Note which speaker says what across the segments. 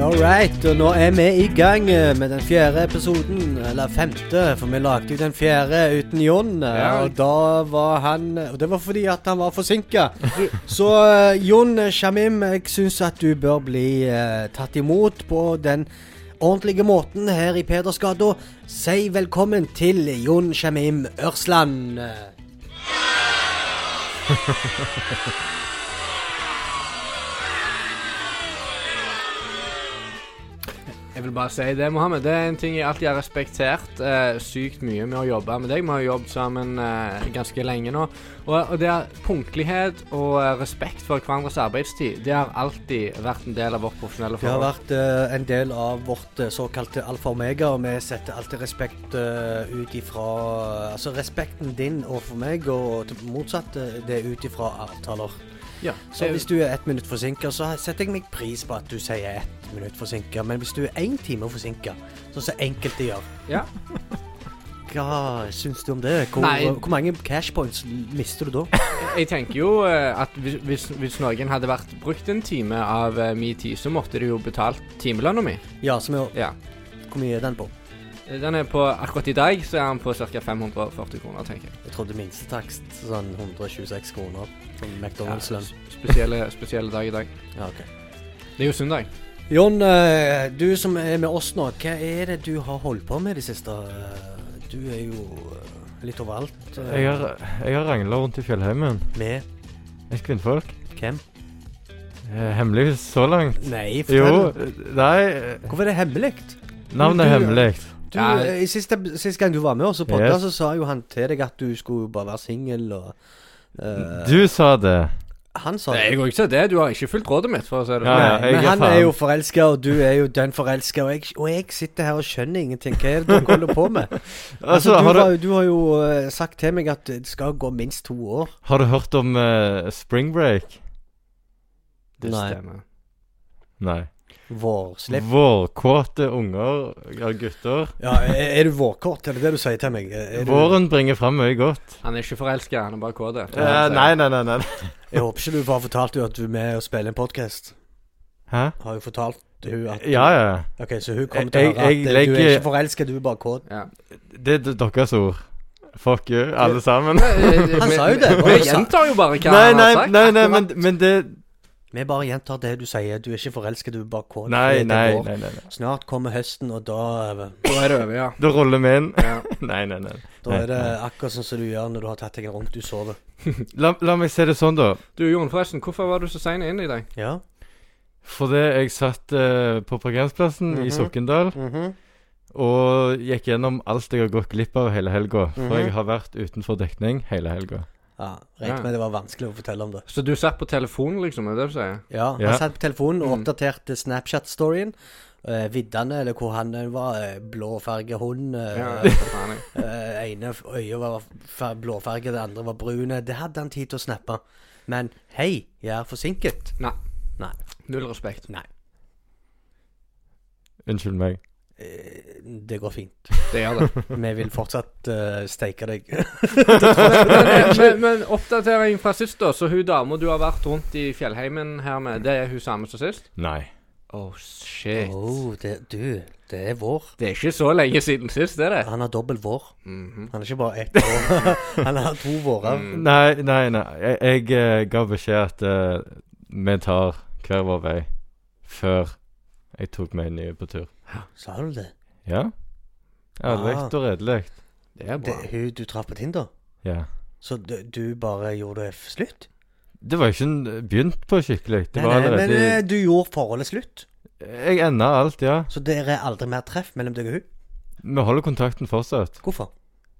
Speaker 1: All right, og nå er vi i gang eh, med den fjerde episoden, eller femte, for vi lagde jo den fjerde uten Jon. eh,
Speaker 2: Ja.
Speaker 1: Og da var han Og det var fordi at han var forsinka. Så eh, Jon eh, Shamim, jeg syns at du bør bli eh, tatt imot på den ordentlige måten her i Pedersgata. Si velkommen til Jon Shamim Ørsland.
Speaker 2: Jeg vil bare si det, Mohammed. Det er en ting jeg alltid har respektert eh, sykt mye med å jobbe med deg. Vi har jobbet sammen eh, ganske lenge nå. Og, og det er punktlighet og eh, respekt for hverandres arbeidstid. Det har alltid vært en del av vårt profesjonelle
Speaker 1: Det har
Speaker 2: forhold.
Speaker 1: vært eh, en del av vårt eh, såkalte alfa og omega, og vi setter alltid respekt eh, ut ifra Altså respekten din overfor meg, og til- motsatt, eh, det er ut ifra avtaler.
Speaker 2: Ja,
Speaker 1: Så hvis du er ett minutt forsinka, så setter jeg meg pris på at du sier ett minutt forsinka, men hvis du er én time forsinka, sånn som enkelte gjør
Speaker 2: Ja.
Speaker 1: Hva syns du om det? Hvor,
Speaker 2: Nei.
Speaker 1: hvor mange cashpoints mister du da?
Speaker 2: Jeg tenker jo eh, at hvis, hvis, hvis noen hadde vært brukt en time av eh, min tid, så måtte de jo betalt timelønna mi.
Speaker 1: Ja, som er
Speaker 2: Ja.
Speaker 1: Hvor mye er den på?
Speaker 2: Den er på Akkurat i dag så er den på ca. 540 kroner, tenker jeg.
Speaker 1: Jeg trodde minstetakst sånn 126 kroner. Sånn McDonald's-lønn.
Speaker 2: s- Spesielle, spesielle dag i dag.
Speaker 1: Ja, ok.
Speaker 2: Det er jo søndag.
Speaker 1: Jon, eh, du som er med oss nå, hva er det du har holdt på med i det siste? Eh, Du er jo eh, litt overalt. eh,
Speaker 3: Jeg har, jeg har rangla rundt i fjellheimen.
Speaker 1: Med
Speaker 3: Et kvinnfolk.
Speaker 1: hvem?
Speaker 3: Eh, hemmelig så langt.
Speaker 1: Nei,
Speaker 3: Jo,
Speaker 1: fortell.
Speaker 3: eh, nei eh,
Speaker 1: Hvorfor er det hemmelig?
Speaker 3: Navnet er hemmelig.
Speaker 1: Du,
Speaker 2: Ja.
Speaker 1: eh, i siste, siste gang du var med oss og podda,
Speaker 3: Yes.
Speaker 1: så sa jo han til deg at du skulle bare være singel og eh,
Speaker 3: Du sa det.
Speaker 1: Han sa
Speaker 2: Nei, jeg
Speaker 1: det.
Speaker 2: går ikke til det. Du har ikke fulgt rådet mitt, for å si det
Speaker 3: Ja, ja,
Speaker 2: sånn.
Speaker 1: Nei,
Speaker 3: jeg
Speaker 1: men
Speaker 3: er
Speaker 1: han
Speaker 3: faen.
Speaker 1: er jo forelska, og du er jo dønn forelska, og, jeg- og jeg sitter her og skjønner ingenting. Hva er det dere holder på med? Altså,
Speaker 3: Altså,
Speaker 1: du,
Speaker 3: har,
Speaker 1: har
Speaker 3: du,
Speaker 1: du har jo eh, sagt til meg at det skal gå minst to år.
Speaker 3: har du hørt om eh, spring break?
Speaker 2: Det
Speaker 1: Nei.
Speaker 2: stemmer.
Speaker 3: Nei.
Speaker 1: Vårslipp.
Speaker 3: Vårkåte unger, ja, gutter.
Speaker 1: Ja, er er du vårkort? Er det det du sier til meg? Er du,
Speaker 3: Våren bringer fram mye godt.
Speaker 2: Han er ikke forelska, han er bare kåt.
Speaker 3: Eh, nei, nei, nei, nei.
Speaker 1: Jeg håper ikke du bare fortalte henne at du er med og spiller en podkast.
Speaker 3: Hæ?
Speaker 1: Har jo fortalt hun at
Speaker 3: Ja, ja.
Speaker 1: Ok, Så hun kommer til å
Speaker 3: Jeg-
Speaker 1: høre at
Speaker 3: jeg
Speaker 1: eh, du er
Speaker 3: legger-
Speaker 1: ikke forelska, du er bare kåt.
Speaker 2: Ja.
Speaker 3: Det er d- deres ord. Fuck you, alle sammen.
Speaker 1: Han
Speaker 2: Han
Speaker 1: sa jo det.
Speaker 2: eh, Vi
Speaker 1: Hva sa-
Speaker 2: gjentar jo bare hva
Speaker 3: Nei,
Speaker 2: han
Speaker 3: nei,
Speaker 2: har sagt.
Speaker 3: nei, nei, men,
Speaker 2: akkurat.
Speaker 3: men det
Speaker 1: Vi bare gjentar det du sier. Du er ikke forelska, du er bare kåt. Det
Speaker 3: Nei,
Speaker 1: er
Speaker 3: nei,
Speaker 1: vår.
Speaker 3: nei. nei, nei.
Speaker 1: Snart kommer høsten, og da, eh,
Speaker 2: Da er det over, ja.
Speaker 3: Da ruller vi inn.
Speaker 2: ja.
Speaker 3: Nei, nei, nei.
Speaker 1: da er det akkurat sånn som du gjør når du har tatt deg en runk. Du sover.
Speaker 3: La, la meg se det sånn, da.
Speaker 2: Du Jon, forresten, hvorfor var du så sein inn i dag?
Speaker 1: Ja.
Speaker 3: Fordi jeg satt eh, på parkeringsplassen i
Speaker 1: Mhm.
Speaker 3: Sokndal
Speaker 1: Mhm.
Speaker 3: og gikk gjennom alt jeg har gått glipp av hele helga. For
Speaker 1: Mhm.
Speaker 3: jeg har vært utenfor dekning hele helga.
Speaker 1: ja Regnet
Speaker 2: Ja.
Speaker 1: med det var vanskelig å fortelle om det.
Speaker 2: Så du satt på telefonen, liksom? Er det det du sier?
Speaker 1: Ja, han
Speaker 3: Ja.
Speaker 1: satt på telefonen og
Speaker 2: Mm.
Speaker 1: oppdaterte Snapchat-storyen. Eh, viddene, eller hvor han eh, var. eh, Blåfarge hund. eh,
Speaker 2: Ja, for faen, jeg.
Speaker 1: eh, ene f- øyet var fer- blåfarge, det andre var brune. Det hadde han tid til å snappe. Men hei, jeg er forsinket.
Speaker 2: Null respekt.
Speaker 3: Unnskyld meg.
Speaker 1: Eh, Det går fint.
Speaker 2: Det gjør det.
Speaker 1: Vi vil fortsatt eh, steike deg.
Speaker 2: Men, eh, men, men oppdatering fra sist, da. Så hun dama du har vært rundt i fjellheimen her med, det er hun samme som sist?
Speaker 3: Nei.
Speaker 2: Oh, shit.
Speaker 1: Oh, det, du, det er vår.
Speaker 2: Det er ikke så lenge siden sist, er det?
Speaker 1: Han har dobbel vår.
Speaker 2: Mhm.
Speaker 1: Han er ikke bare ett år. Han har to vårer.
Speaker 2: Mm.
Speaker 3: Nei, nei, nei. Jeg, jeg eh, ga beskjed at eh, vi tar hver vår vei før jeg tok meg en ny på tur.
Speaker 1: Sa du det?
Speaker 3: Ja? Ærlig
Speaker 1: Ah.
Speaker 3: og redelig.
Speaker 2: Det er
Speaker 1: det
Speaker 2: bra.
Speaker 1: hun du traff på Tinder?
Speaker 3: Ja.
Speaker 1: Så du, du bare gjorde det f- slutt?
Speaker 3: Det var ikke en- begynt på skikkelig. Det
Speaker 1: Nei,
Speaker 3: var
Speaker 1: nei, men eh,
Speaker 3: allerede
Speaker 1: du gjorde forholdet slutt,
Speaker 3: Jeg enda alt, ja.
Speaker 1: så det er aldri mer treff mellom deg og hun.
Speaker 3: Vi holder kontakten fortsatt.
Speaker 1: Hvorfor?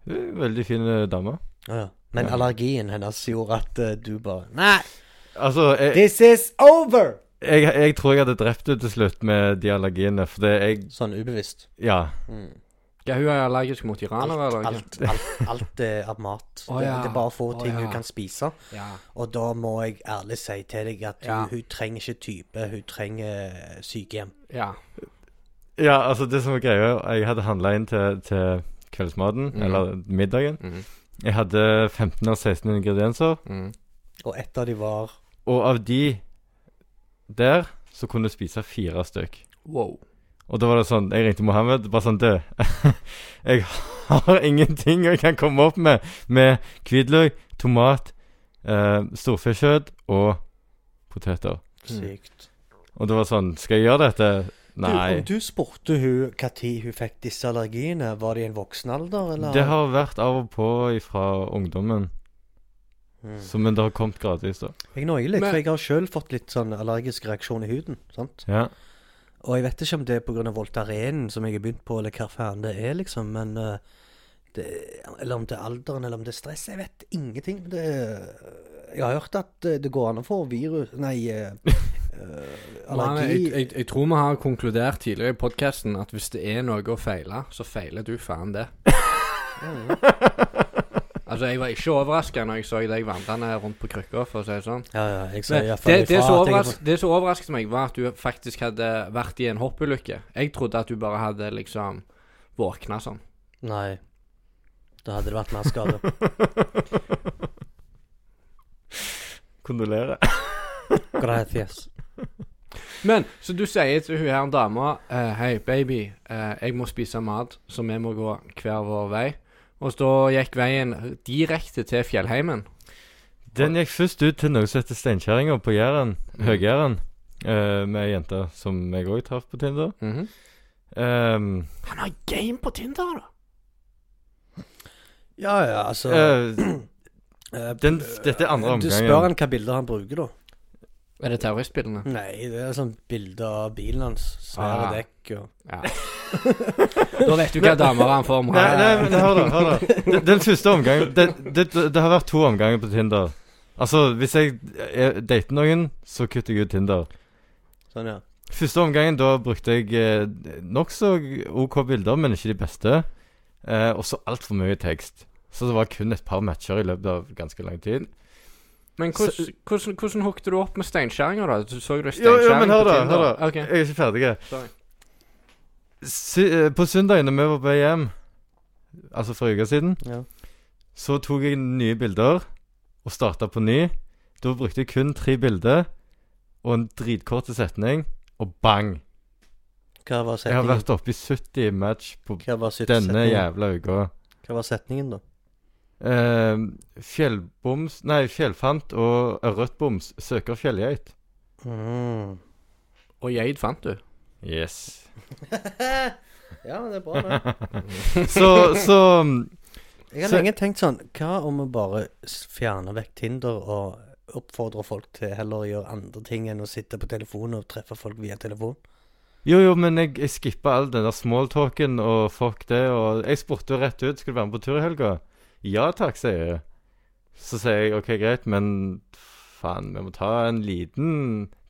Speaker 3: Hun er en Veldig fin eh, dame.
Speaker 1: Ja, ja. Men
Speaker 3: Ja.
Speaker 1: allergien hennes gjorde at eh, du bare Nei,
Speaker 3: Altså, jeg,
Speaker 1: this is over!
Speaker 3: Jeg, jeg tror jeg hadde drept henne til slutt med de allergiene, for det jeg
Speaker 1: Sånn ubevisst.
Speaker 3: Ja.
Speaker 1: Mm.
Speaker 2: Hva, hun er allergisk mot iranere, eller?
Speaker 1: Alt,
Speaker 2: hva?
Speaker 1: alt, alt, alt er av mat.
Speaker 2: Å,
Speaker 1: det,
Speaker 2: ja.
Speaker 1: det er bare få
Speaker 2: Å,
Speaker 1: ting
Speaker 2: ja.
Speaker 1: hun kan spise.
Speaker 2: Ja.
Speaker 1: Og da må jeg ærlig si til deg at hun,
Speaker 2: Ja.
Speaker 1: hun trenger ikke type, hun trenger eh, sykehjem.
Speaker 2: ja.
Speaker 3: Ja, altså, det som var greia Jeg hadde handla inn til, til kveldsmaten,
Speaker 2: Mhm.
Speaker 3: eller middagen.
Speaker 2: Mhm.
Speaker 3: Jeg hadde 15 av 16 ingredienser,
Speaker 1: mhm.
Speaker 2: Mm.
Speaker 1: Og ett av de var
Speaker 3: og av de der så kunne du spise fire stykk.
Speaker 2: Wow.
Speaker 3: Og da var det sånn Jeg ringte Mohammed. Bare sånn Du, jeg har ingenting jeg kan komme opp med med hvitløk, tomat, eh, storfekjøtt og poteter.
Speaker 2: Mm.
Speaker 1: sykt.
Speaker 3: Og det var sånn Skal jeg gjøre dette?
Speaker 1: Du, om
Speaker 3: Nei.
Speaker 1: du spurte hun hva tid hun fikk disse allergiene, var det i en voksen alder, eller?
Speaker 3: Det har vært av og på fra ungdommen,
Speaker 1: Mm.
Speaker 3: så, men det har kommet gradvis, da.
Speaker 1: Jeg noier litt,
Speaker 2: Men-
Speaker 1: for jeg har sjøl fått litt sånn allergisk reaksjon i huden. sant?
Speaker 3: Ja.
Speaker 1: Og jeg vet ikke om det er pga. Voltarenen som jeg har begynt på, eller hva faen det er, liksom, men eh, det, Eller om det er alderen, eller om det er stress. Jeg vet ingenting. Det, jeg har hørt at eh, det går an å få virus Nei, eh, eh,
Speaker 2: Nei,
Speaker 1: allergi
Speaker 2: jeg, jeg, jeg tror vi har konkludert tidligere i podkasten at hvis det er noe å feile, så feiler du faen det. altså, jeg var ikke overraska når jeg så deg vandrende rundt på krykka, for å si det sånn.
Speaker 1: Ja, ja, jeg sier
Speaker 2: Men
Speaker 1: iallfall
Speaker 2: det, det,
Speaker 1: ifra
Speaker 2: som
Speaker 1: at jeg har
Speaker 2: overras- det som overrasket meg, var at du faktisk hadde vært i en hoppulykke. Jeg trodde at du bare hadde liksom våkna sånn.
Speaker 1: fått- Nei. Da hadde det vært mer skade.
Speaker 3: Kondolerer.
Speaker 1: Gracias.
Speaker 2: Men så du sier til hun her dama eh, Hei, baby, eh, jeg må spise mat, så vi må gå hver vår vei. Og så gikk veien direkte til fjellheimen.
Speaker 3: Den gikk først ut til noe som heter Steinkjerringa på Jæren,
Speaker 1: Mm.
Speaker 3: Høg-Jæren, eh, med ei jente som jeg òg traff på Tinder.
Speaker 2: Mhm.
Speaker 3: Um,
Speaker 2: Han har game på Tinder, da!
Speaker 1: Ja, ja, altså
Speaker 3: eh,
Speaker 1: eh,
Speaker 3: den, dette er andre
Speaker 1: Du spør
Speaker 3: omgangen.
Speaker 1: han hva bilder han bruker, da.
Speaker 2: Er det terroristbildene?
Speaker 3: Mm.
Speaker 1: Nei, det er sånn bilde av bilen hans. Svære
Speaker 2: Ah.
Speaker 1: dekk og
Speaker 2: Ja. da vet du hva damer han får om
Speaker 3: Nei,
Speaker 2: her.
Speaker 3: nei,
Speaker 1: eh.
Speaker 3: men hør da. hør da Den, den første omgangen det, det, det har vært to omganger på Tinder. Altså, hvis jeg, jeg dater noen, så kutter jeg ut Tinder.
Speaker 1: Sånn, ja.
Speaker 3: Første omgangen, da brukte jeg eh, nokså OK bilder, men ikke de beste. Eh, og så altfor mye tekst. Så det var kun et par matcher i løpet av ganske lang tid.
Speaker 2: Men hvordan, hvordan, hvordan hookte du opp med steinkjerringer, da? Du så
Speaker 3: Jo, jo,
Speaker 2: du
Speaker 3: men
Speaker 2: steinkjerring på
Speaker 3: hør da,
Speaker 2: Tinder?
Speaker 3: hør da. Jeg er ikke ferdig.
Speaker 2: Sorry.
Speaker 3: Sy eh, på søndag når vi var på hjem, altså for uka siden,
Speaker 1: ja.
Speaker 3: Så tok jeg nye bilder og starta på ny. Da brukte jeg kun tre bilder og en dritkort setning, og bang!
Speaker 1: Hva var
Speaker 3: Jeg har
Speaker 1: setningen?
Speaker 3: vært oppe i 70 match på
Speaker 1: Hva var sitt-
Speaker 3: denne
Speaker 1: setningen?
Speaker 3: jævla uka.
Speaker 1: Hva var setningen, da?
Speaker 3: Eh, fjellboms Nei, fjellfant og ørretboms søker fjellgeit.
Speaker 1: Mm.
Speaker 2: Og geit fant du.
Speaker 3: Yes.
Speaker 1: ja, det er bra, det.
Speaker 3: Så, så
Speaker 1: Jeg har
Speaker 3: Så-
Speaker 1: lenge tenkt sånn Hva om vi bare s- fjerner vekk Tinder og oppfordrer folk til heller å gjøre andre ting enn å sitte på telefonen og treffe folk via telefon?
Speaker 3: Jo, jo, men jeg, jeg skippa all den der smalltalken og fuck det, og jeg spurte jo rett ut skal du være med på tur i helga. Ja takk, sier jeg. Så sier jeg OK, greit, men faen, vi må ta en liten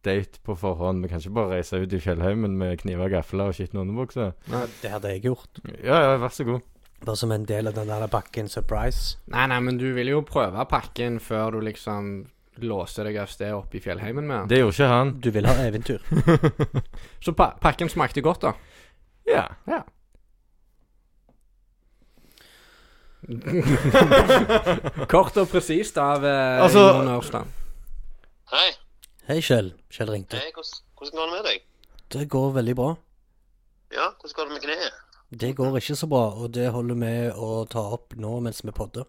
Speaker 3: date på forhånd. Vi kan ikke bare reise ut i fjellheimen med kniver, gafler og skitne underbukser.
Speaker 1: Det hadde jeg gjort.
Speaker 3: Ja, ja, vær så god.
Speaker 1: Bare som en del av den der pakken surprise.
Speaker 2: Nei, nei, men du vil jo prøve pakken før du liksom låser deg av sted oppe i fjellheimen med den.
Speaker 3: Det gjorde ikke han.
Speaker 1: Du vil ha eventyr.
Speaker 2: Så pa pakken smakte godt, da.
Speaker 3: Ja.
Speaker 2: Ja. Kort og presist av eh,
Speaker 3: Altså-
Speaker 2: Jon Ørsland.
Speaker 4: Hei,
Speaker 1: Hei, Kjell. Kjell ringte.
Speaker 4: hei, hvordan, hvordan går det med deg?
Speaker 1: Det går veldig bra.
Speaker 4: Ja, hvordan går det med kneet?
Speaker 1: Det går ikke så bra, og det holder vi å ta opp nå mens vi podder.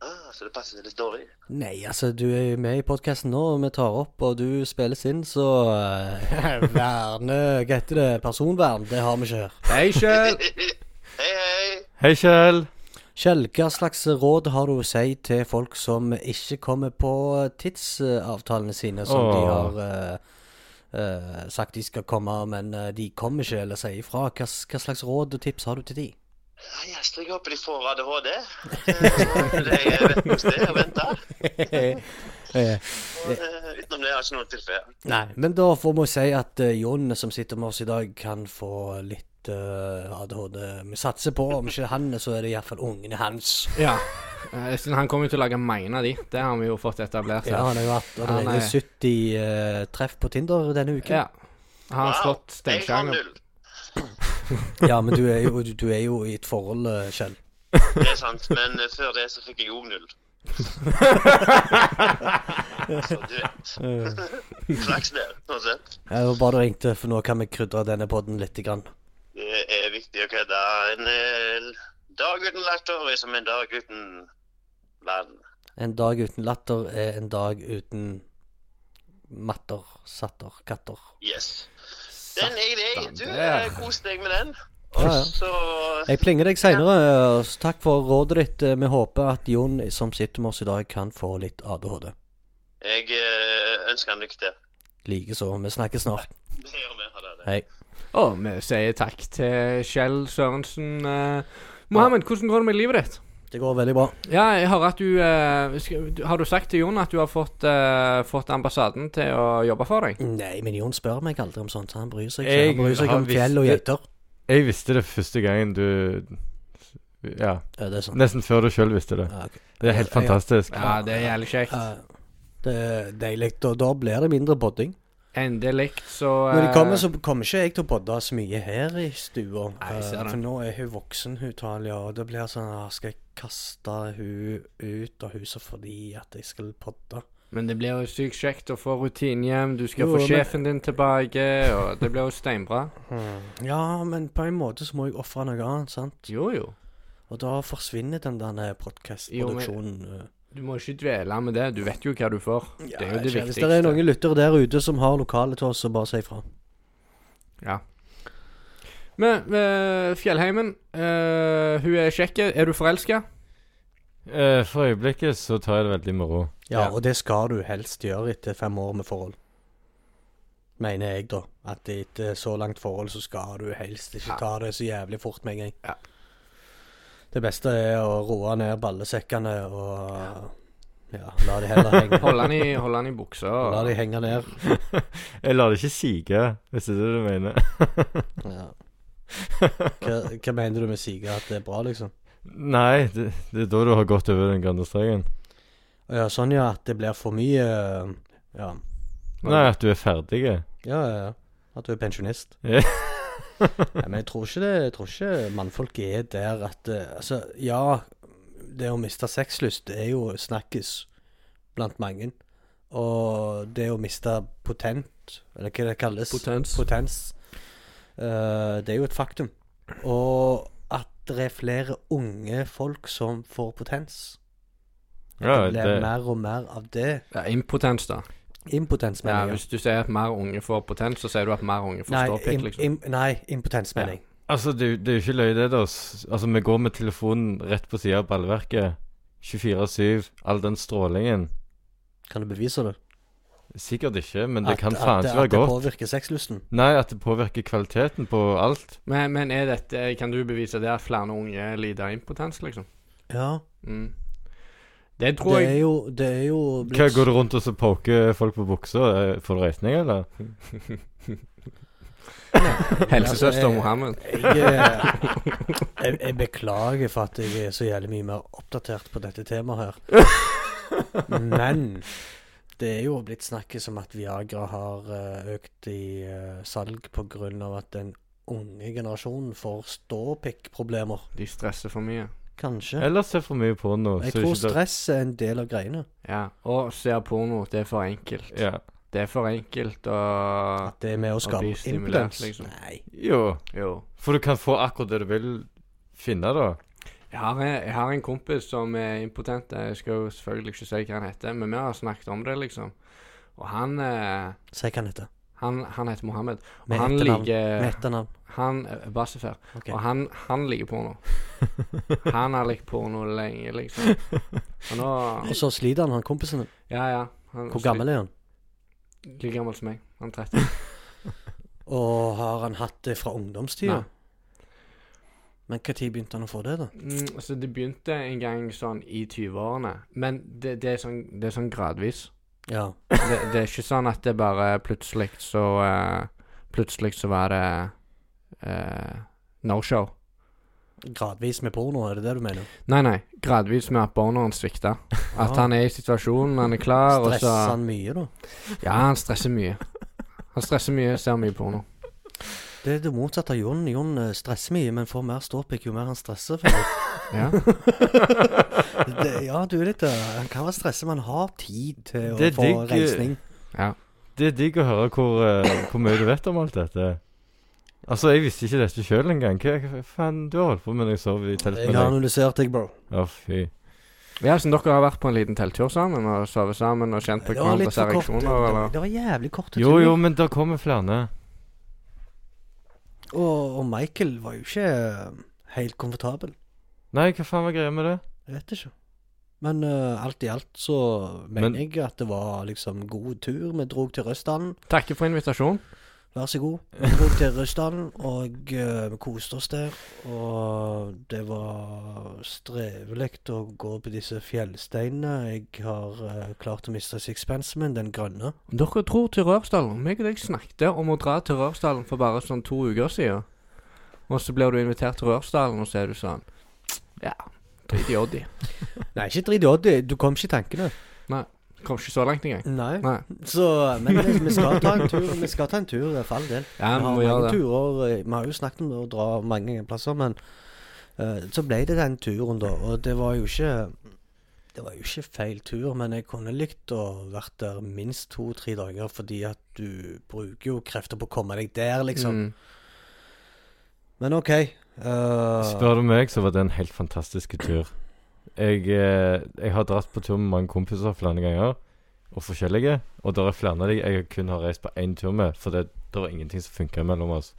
Speaker 4: Ah, så det passer litt dårlig.
Speaker 1: Nei, altså, du er jo med i podkasten nå, og vi tar opp, og du spilles inn, så eh, Verne Hva heter det? Personvern? Det har vi ikke her.
Speaker 2: Hei,
Speaker 4: Eh.
Speaker 2: Kjell.
Speaker 4: hei, hei.
Speaker 3: Hei, Kjell.
Speaker 1: Kjell, hva slags råd har du å si til folk som ikke kommer på eh, tidsavtalene sine, som de
Speaker 3: Åh.
Speaker 1: har eh, eh, sagt de skal komme, men eh, de kommer ikke eller sier ifra? Hva, s- hva slags råd og tips har du til de?
Speaker 4: Nei, jeg stryker opp de får ADHD. Eh, Det jeg vet hvordan det er å vente.
Speaker 1: Eh,
Speaker 4: Og, eh, Utenom det har jeg ikke noe tilfelle.
Speaker 1: Nei, men da får vi si at eh, Jon som sitter med oss i dag, kan få litt litt eh, ADHD. Vi satser på, om ikke han, så er det iallfall ungene hans.
Speaker 2: Ja. Eh, Siden han kommer jo til å lage mange av de. Det har vi jo fått etablert.
Speaker 1: Ja,
Speaker 2: her.
Speaker 1: han har jo hatt
Speaker 2: Han er-
Speaker 1: allerede 70 eh, treff på Tinder denne uken.
Speaker 2: Ja. Har han slått
Speaker 4: jeg har
Speaker 2: steinsjanger?
Speaker 4: null.
Speaker 1: Ja, men du er jo, du er jo i et forhold, eh, Kjell.
Speaker 4: Det er sant, men eh, før det så fikk jeg òg null. så du vet. Flaks der, uansett.
Speaker 1: Det var bare du ringte, for nå kan vi krydre denne podden litt. Grann.
Speaker 4: Det er viktig å kødde. En eh, dag uten latter er som en dag uten verden.
Speaker 1: En dag uten latter er en dag uten matter, satter, katter.
Speaker 4: Yes. Den er grei. Du
Speaker 2: der.
Speaker 4: eh, kos deg med den.
Speaker 1: Ja,
Speaker 4: Og
Speaker 1: ja.
Speaker 4: så
Speaker 1: Jeg plinger deg seinere. Takk for rådet ditt. Vi håper at Jon, som sitter med oss i dag, kan få litt ADHD.
Speaker 4: Jeg eh, ønsker han lykke til.
Speaker 1: Likeså. Vi snakkes snart.
Speaker 4: Det gjør vi. Ha det.
Speaker 1: Hei.
Speaker 2: Og vi sier takk til Kjell Sørensen. eh, Mohammed, hvordan går det med livet ditt?
Speaker 1: Det går veldig bra.
Speaker 2: Ja, jeg hører at du, eh, sk- du Har du sagt til Jon at du har fått, eh, fått ambassaden til å jobbe for deg?
Speaker 1: Nei, men Jon spør meg aldri om sånt. så Han bryr seg ikke.
Speaker 3: Jeg
Speaker 1: Han bryr seg
Speaker 3: har
Speaker 1: om fjell og
Speaker 3: visst
Speaker 1: geiter.
Speaker 3: Jeg visste det første gangen du Ja.
Speaker 1: Ja, det er sånn.
Speaker 3: Nesten før du sjøl visste det.
Speaker 1: Ja, ok.
Speaker 3: Det er helt
Speaker 1: Ja, ja.
Speaker 3: fantastisk.
Speaker 2: Ja, det er jævlig kjekt.
Speaker 1: Ja, Det er deilig. Da, da blir det mindre podding.
Speaker 2: Endelig, så
Speaker 1: Når de
Speaker 2: eh,
Speaker 1: kommer, så kommer ikke jeg til å podde så mye her i stua.
Speaker 2: Nei, jeg ser
Speaker 1: Eh,
Speaker 2: det.
Speaker 1: For nå er hun voksen, hun Talia, og det blir sånn ah, Skal jeg kaste hun ut av huset fordi at jeg skal podde?
Speaker 2: Men det blir jo sykt kjekt å få rutinen hjem. Du skal
Speaker 1: Jo,
Speaker 2: få
Speaker 1: men-
Speaker 2: sjefen din tilbake, og det blir jo steinbra.
Speaker 1: Ja, men på en måte så må jeg ofre noe annet, sant?
Speaker 2: Jo, jo.
Speaker 1: Og da forsvinner den der podkastproduksjonen.
Speaker 2: Du må ikke dvele med det. Du vet jo hva du får. det er jo det
Speaker 1: Hvis det er
Speaker 2: viktigste.
Speaker 1: noen lyttere der ute som har lokale til oss, så bare si ifra.
Speaker 2: Ja. Men eh, Fjellheimen, eh, hun er kjekk. Er du forelska?
Speaker 3: Eh, For øyeblikket så tar jeg det veldig med ro.
Speaker 1: Ja,
Speaker 2: Ja.
Speaker 1: og det skal du helst gjøre etter fem år med forhold. Mener jeg, da. At etter så langt forhold så skal du helst ikke
Speaker 2: Ja.
Speaker 1: ta det så jævlig fort med en gang.
Speaker 2: Ja.
Speaker 1: Det beste er å roe ned ballesekkene og ja, la de heller henge.
Speaker 2: Hold han i, hold han i buksa.
Speaker 1: La de
Speaker 2: og-
Speaker 1: henge ned.
Speaker 3: Jeg lar det ikke sige, hvis det er det du mener.
Speaker 1: Ja. Hva, hva mener du med sige? At det er bra, liksom?
Speaker 3: Nei, det, det er da du har gått over den grønne streken.
Speaker 1: Ja, sånn ja, at det blir for mye Ja,
Speaker 3: Nei, at du er ferdig.
Speaker 1: ja, ja. ja. At du er pensjonist. Nei, men jeg tror ikke det, jeg tror ikke mannfolk er der at eh, Altså, ja, det å miste sexlyst er jo snakkes blant mange. Og det å miste potent, eller hva det kalles
Speaker 2: Potens.
Speaker 1: Potens. eh, det er jo et faktum. Og at det er flere unge folk som får potens.
Speaker 3: Ja,
Speaker 1: det blir
Speaker 3: det,
Speaker 1: mer og mer av det.
Speaker 2: Ja, impotens, da.
Speaker 1: Impotens,
Speaker 2: Ja,
Speaker 1: mener jeg.
Speaker 2: hvis du sier at mer unge får potens, så sier du at mer unge får
Speaker 1: Nei,
Speaker 2: ståpikk,
Speaker 1: im,
Speaker 2: liksom.
Speaker 1: im, nei, impotens, mener jeg.
Speaker 3: altså, det, er jo- det er jo ikke løye, det, da. S- Altså, vi går med telefonen rett på sida av ballverket. 24-7. All den strålingen.
Speaker 1: Kan du bevise det?
Speaker 3: Sikkert ikke, men det
Speaker 1: At-
Speaker 3: kan
Speaker 1: at
Speaker 3: faen
Speaker 1: det-
Speaker 3: ikke være
Speaker 1: At det
Speaker 3: godt.
Speaker 1: påvirker sexlysten?
Speaker 3: Nei, at det påvirker kvaliteten på alt.
Speaker 2: Men, men er dette, kan du bevise det at flere unge lider av impotens, liksom?
Speaker 1: Ja.
Speaker 2: Mm. Det tror
Speaker 1: Det
Speaker 2: jeg
Speaker 1: er jo, det er jo
Speaker 3: Hva
Speaker 1: blitt
Speaker 3: Går du rundt og så poker folk på buksa? Eh, Får du regning, eller?
Speaker 2: Helsesøster
Speaker 1: Altså, jeg-
Speaker 2: Mohammed.
Speaker 1: sånn, jeg, eh, jeg, jeg beklager for at jeg er så jævlig mye mer oppdatert på dette temaet her. Men det er jo blitt snakket om at Viagra har eh, økt i eh, salg pga. at den unge generasjonen får ståpikkproblemer.
Speaker 2: De stresser for mye.
Speaker 1: Kanskje.
Speaker 3: Eller ser for mye porno.
Speaker 1: Jeg
Speaker 3: så
Speaker 1: tror
Speaker 3: ikke det-
Speaker 1: stress er en del av greiene.
Speaker 2: Ja. Og ser porno. Det er for enkelt.
Speaker 3: Ja.
Speaker 2: Det er for enkelt og
Speaker 1: At det er med å skape
Speaker 2: bli stimulert,
Speaker 1: impotens.
Speaker 2: liksom.
Speaker 1: Nei.
Speaker 3: Jo.
Speaker 2: Jo.
Speaker 3: For du kan få akkurat det du vil finne, da.
Speaker 2: Jeg har, jeg har en kompis som er impotent. Jeg skal jo selvfølgelig ikke si hva han heter, men vi har snakket om det, liksom. Og han eh,
Speaker 1: Si hva han heter.
Speaker 2: Han, han heter Mohammed. Og
Speaker 1: Med
Speaker 2: han
Speaker 1: etternavn. Med
Speaker 2: liker
Speaker 1: etternavn.
Speaker 2: Han er Basefer.
Speaker 1: Ok.
Speaker 2: Og han, han liker porno. Han har likt porno lenge, liksom. Og nå
Speaker 1: Og så sliter han, han kompisen din.
Speaker 2: Ja, ja. Han,
Speaker 1: Hvor gammel er han?
Speaker 2: Like gammel som meg. Han er 30.
Speaker 1: Og har han hatt det fra ungdomstida?
Speaker 2: Nei.
Speaker 1: Men når begynte han å få det, da?
Speaker 2: Mm, så det begynte en gang sånn i 20-årene. Men det, det, er sånn, det er sånn gradvis.
Speaker 1: Ja.
Speaker 2: Det, det er ikke sånn at det bare plutselig så eh, Plutselig så var det eh, No show.
Speaker 1: Gradvis med porno, er det det du mener?
Speaker 2: Nei, nei. Gradvis med at borneren svikta. At
Speaker 1: Ah.
Speaker 2: han er i situasjonen, han er klar, og
Speaker 1: Stresser
Speaker 2: så
Speaker 1: han mye, da?
Speaker 2: Ja, han stresser mye. Han stresser mye, ser mye porno.
Speaker 1: Det er det motsatte av Jon. Jon eh, stresser mye, men får mer ståpikk jo mer han stresser. føler jeg.
Speaker 2: Ja.
Speaker 1: det, ja, du er litt eh, Han kan være stressa, men han har tid til å
Speaker 3: Det er
Speaker 1: få
Speaker 3: digg, eh,
Speaker 1: reisning.
Speaker 3: Det er digg å høre hvor, eh, hvor mye du vet om alt dette. Altså, jeg visste ikke dette sjøl engang. Hva hva faen du har holdt på med når jeg sov i telt
Speaker 1: Jeg
Speaker 3: med
Speaker 1: har
Speaker 3: deg?
Speaker 1: analysert deg, bro.
Speaker 3: Å, fy.
Speaker 2: ja, så dere har vært på en liten telttur sammen og sovet sammen og kjent på
Speaker 1: Det var litt
Speaker 2: hverandres
Speaker 1: for kort. Det,
Speaker 2: ereksjoner,
Speaker 1: det,
Speaker 2: eller?
Speaker 1: det var jævlig korte
Speaker 3: Jo,
Speaker 1: turer.
Speaker 3: jo, men det kommer flere.
Speaker 1: Og, og Michael var jo ikke eh, helt komfortabel.
Speaker 3: Nei, hva faen var greia med det?
Speaker 1: Jeg vet ikke. Men eh, alt i alt så mener
Speaker 3: Men-
Speaker 1: jeg at det var liksom god tur. Vi drog til Røstdalen.
Speaker 2: Takker for invitasjonen.
Speaker 1: Vær så god. Vi dro til Røsdalen og eh, vi koste oss der. Og det var strevelig å gå på disse fjellsteinene. Jeg har eh, klart å miste sixpensen min, den grønne.
Speaker 2: Dere tror til Rørsdalen. Meg og deg snakket om å dra til Rørsdalen for bare sånn to uker siden. Og så blir du invitert til Rørsdalen, og så er du sånn Ja, drit i Oddi.
Speaker 1: Nei, ikke drit i Oddi. Du kom ikke i tankene.
Speaker 2: Kom ikke så langt engang.
Speaker 1: Nei.
Speaker 2: Nei.
Speaker 1: Så, eh, men vi vi skal ta en tur, vi skal ta en tur eh, for all del. Vi
Speaker 2: Ja, vi
Speaker 1: har
Speaker 2: må
Speaker 1: mange
Speaker 2: gjøre det.
Speaker 1: turer. eh, Vi har jo snakket om å dra mange plasser, men eh, så ble det den turen, da. Og det var jo ikke Det var jo ikke feil tur, men jeg kunne likt å vært der minst to-tre dager, fordi at du bruker jo krefter på å komme deg der, liksom.
Speaker 2: Mm.
Speaker 1: Men OK. eh,
Speaker 3: Spør du meg, så var det en helt fantastisk tur. Jeg, eh, jeg har dratt på tur med mange kompiser flere ganger, og forskjellige. Og det er flere av de jeg kun har reist på én tur med, for det, det var ingenting som funka mellom oss.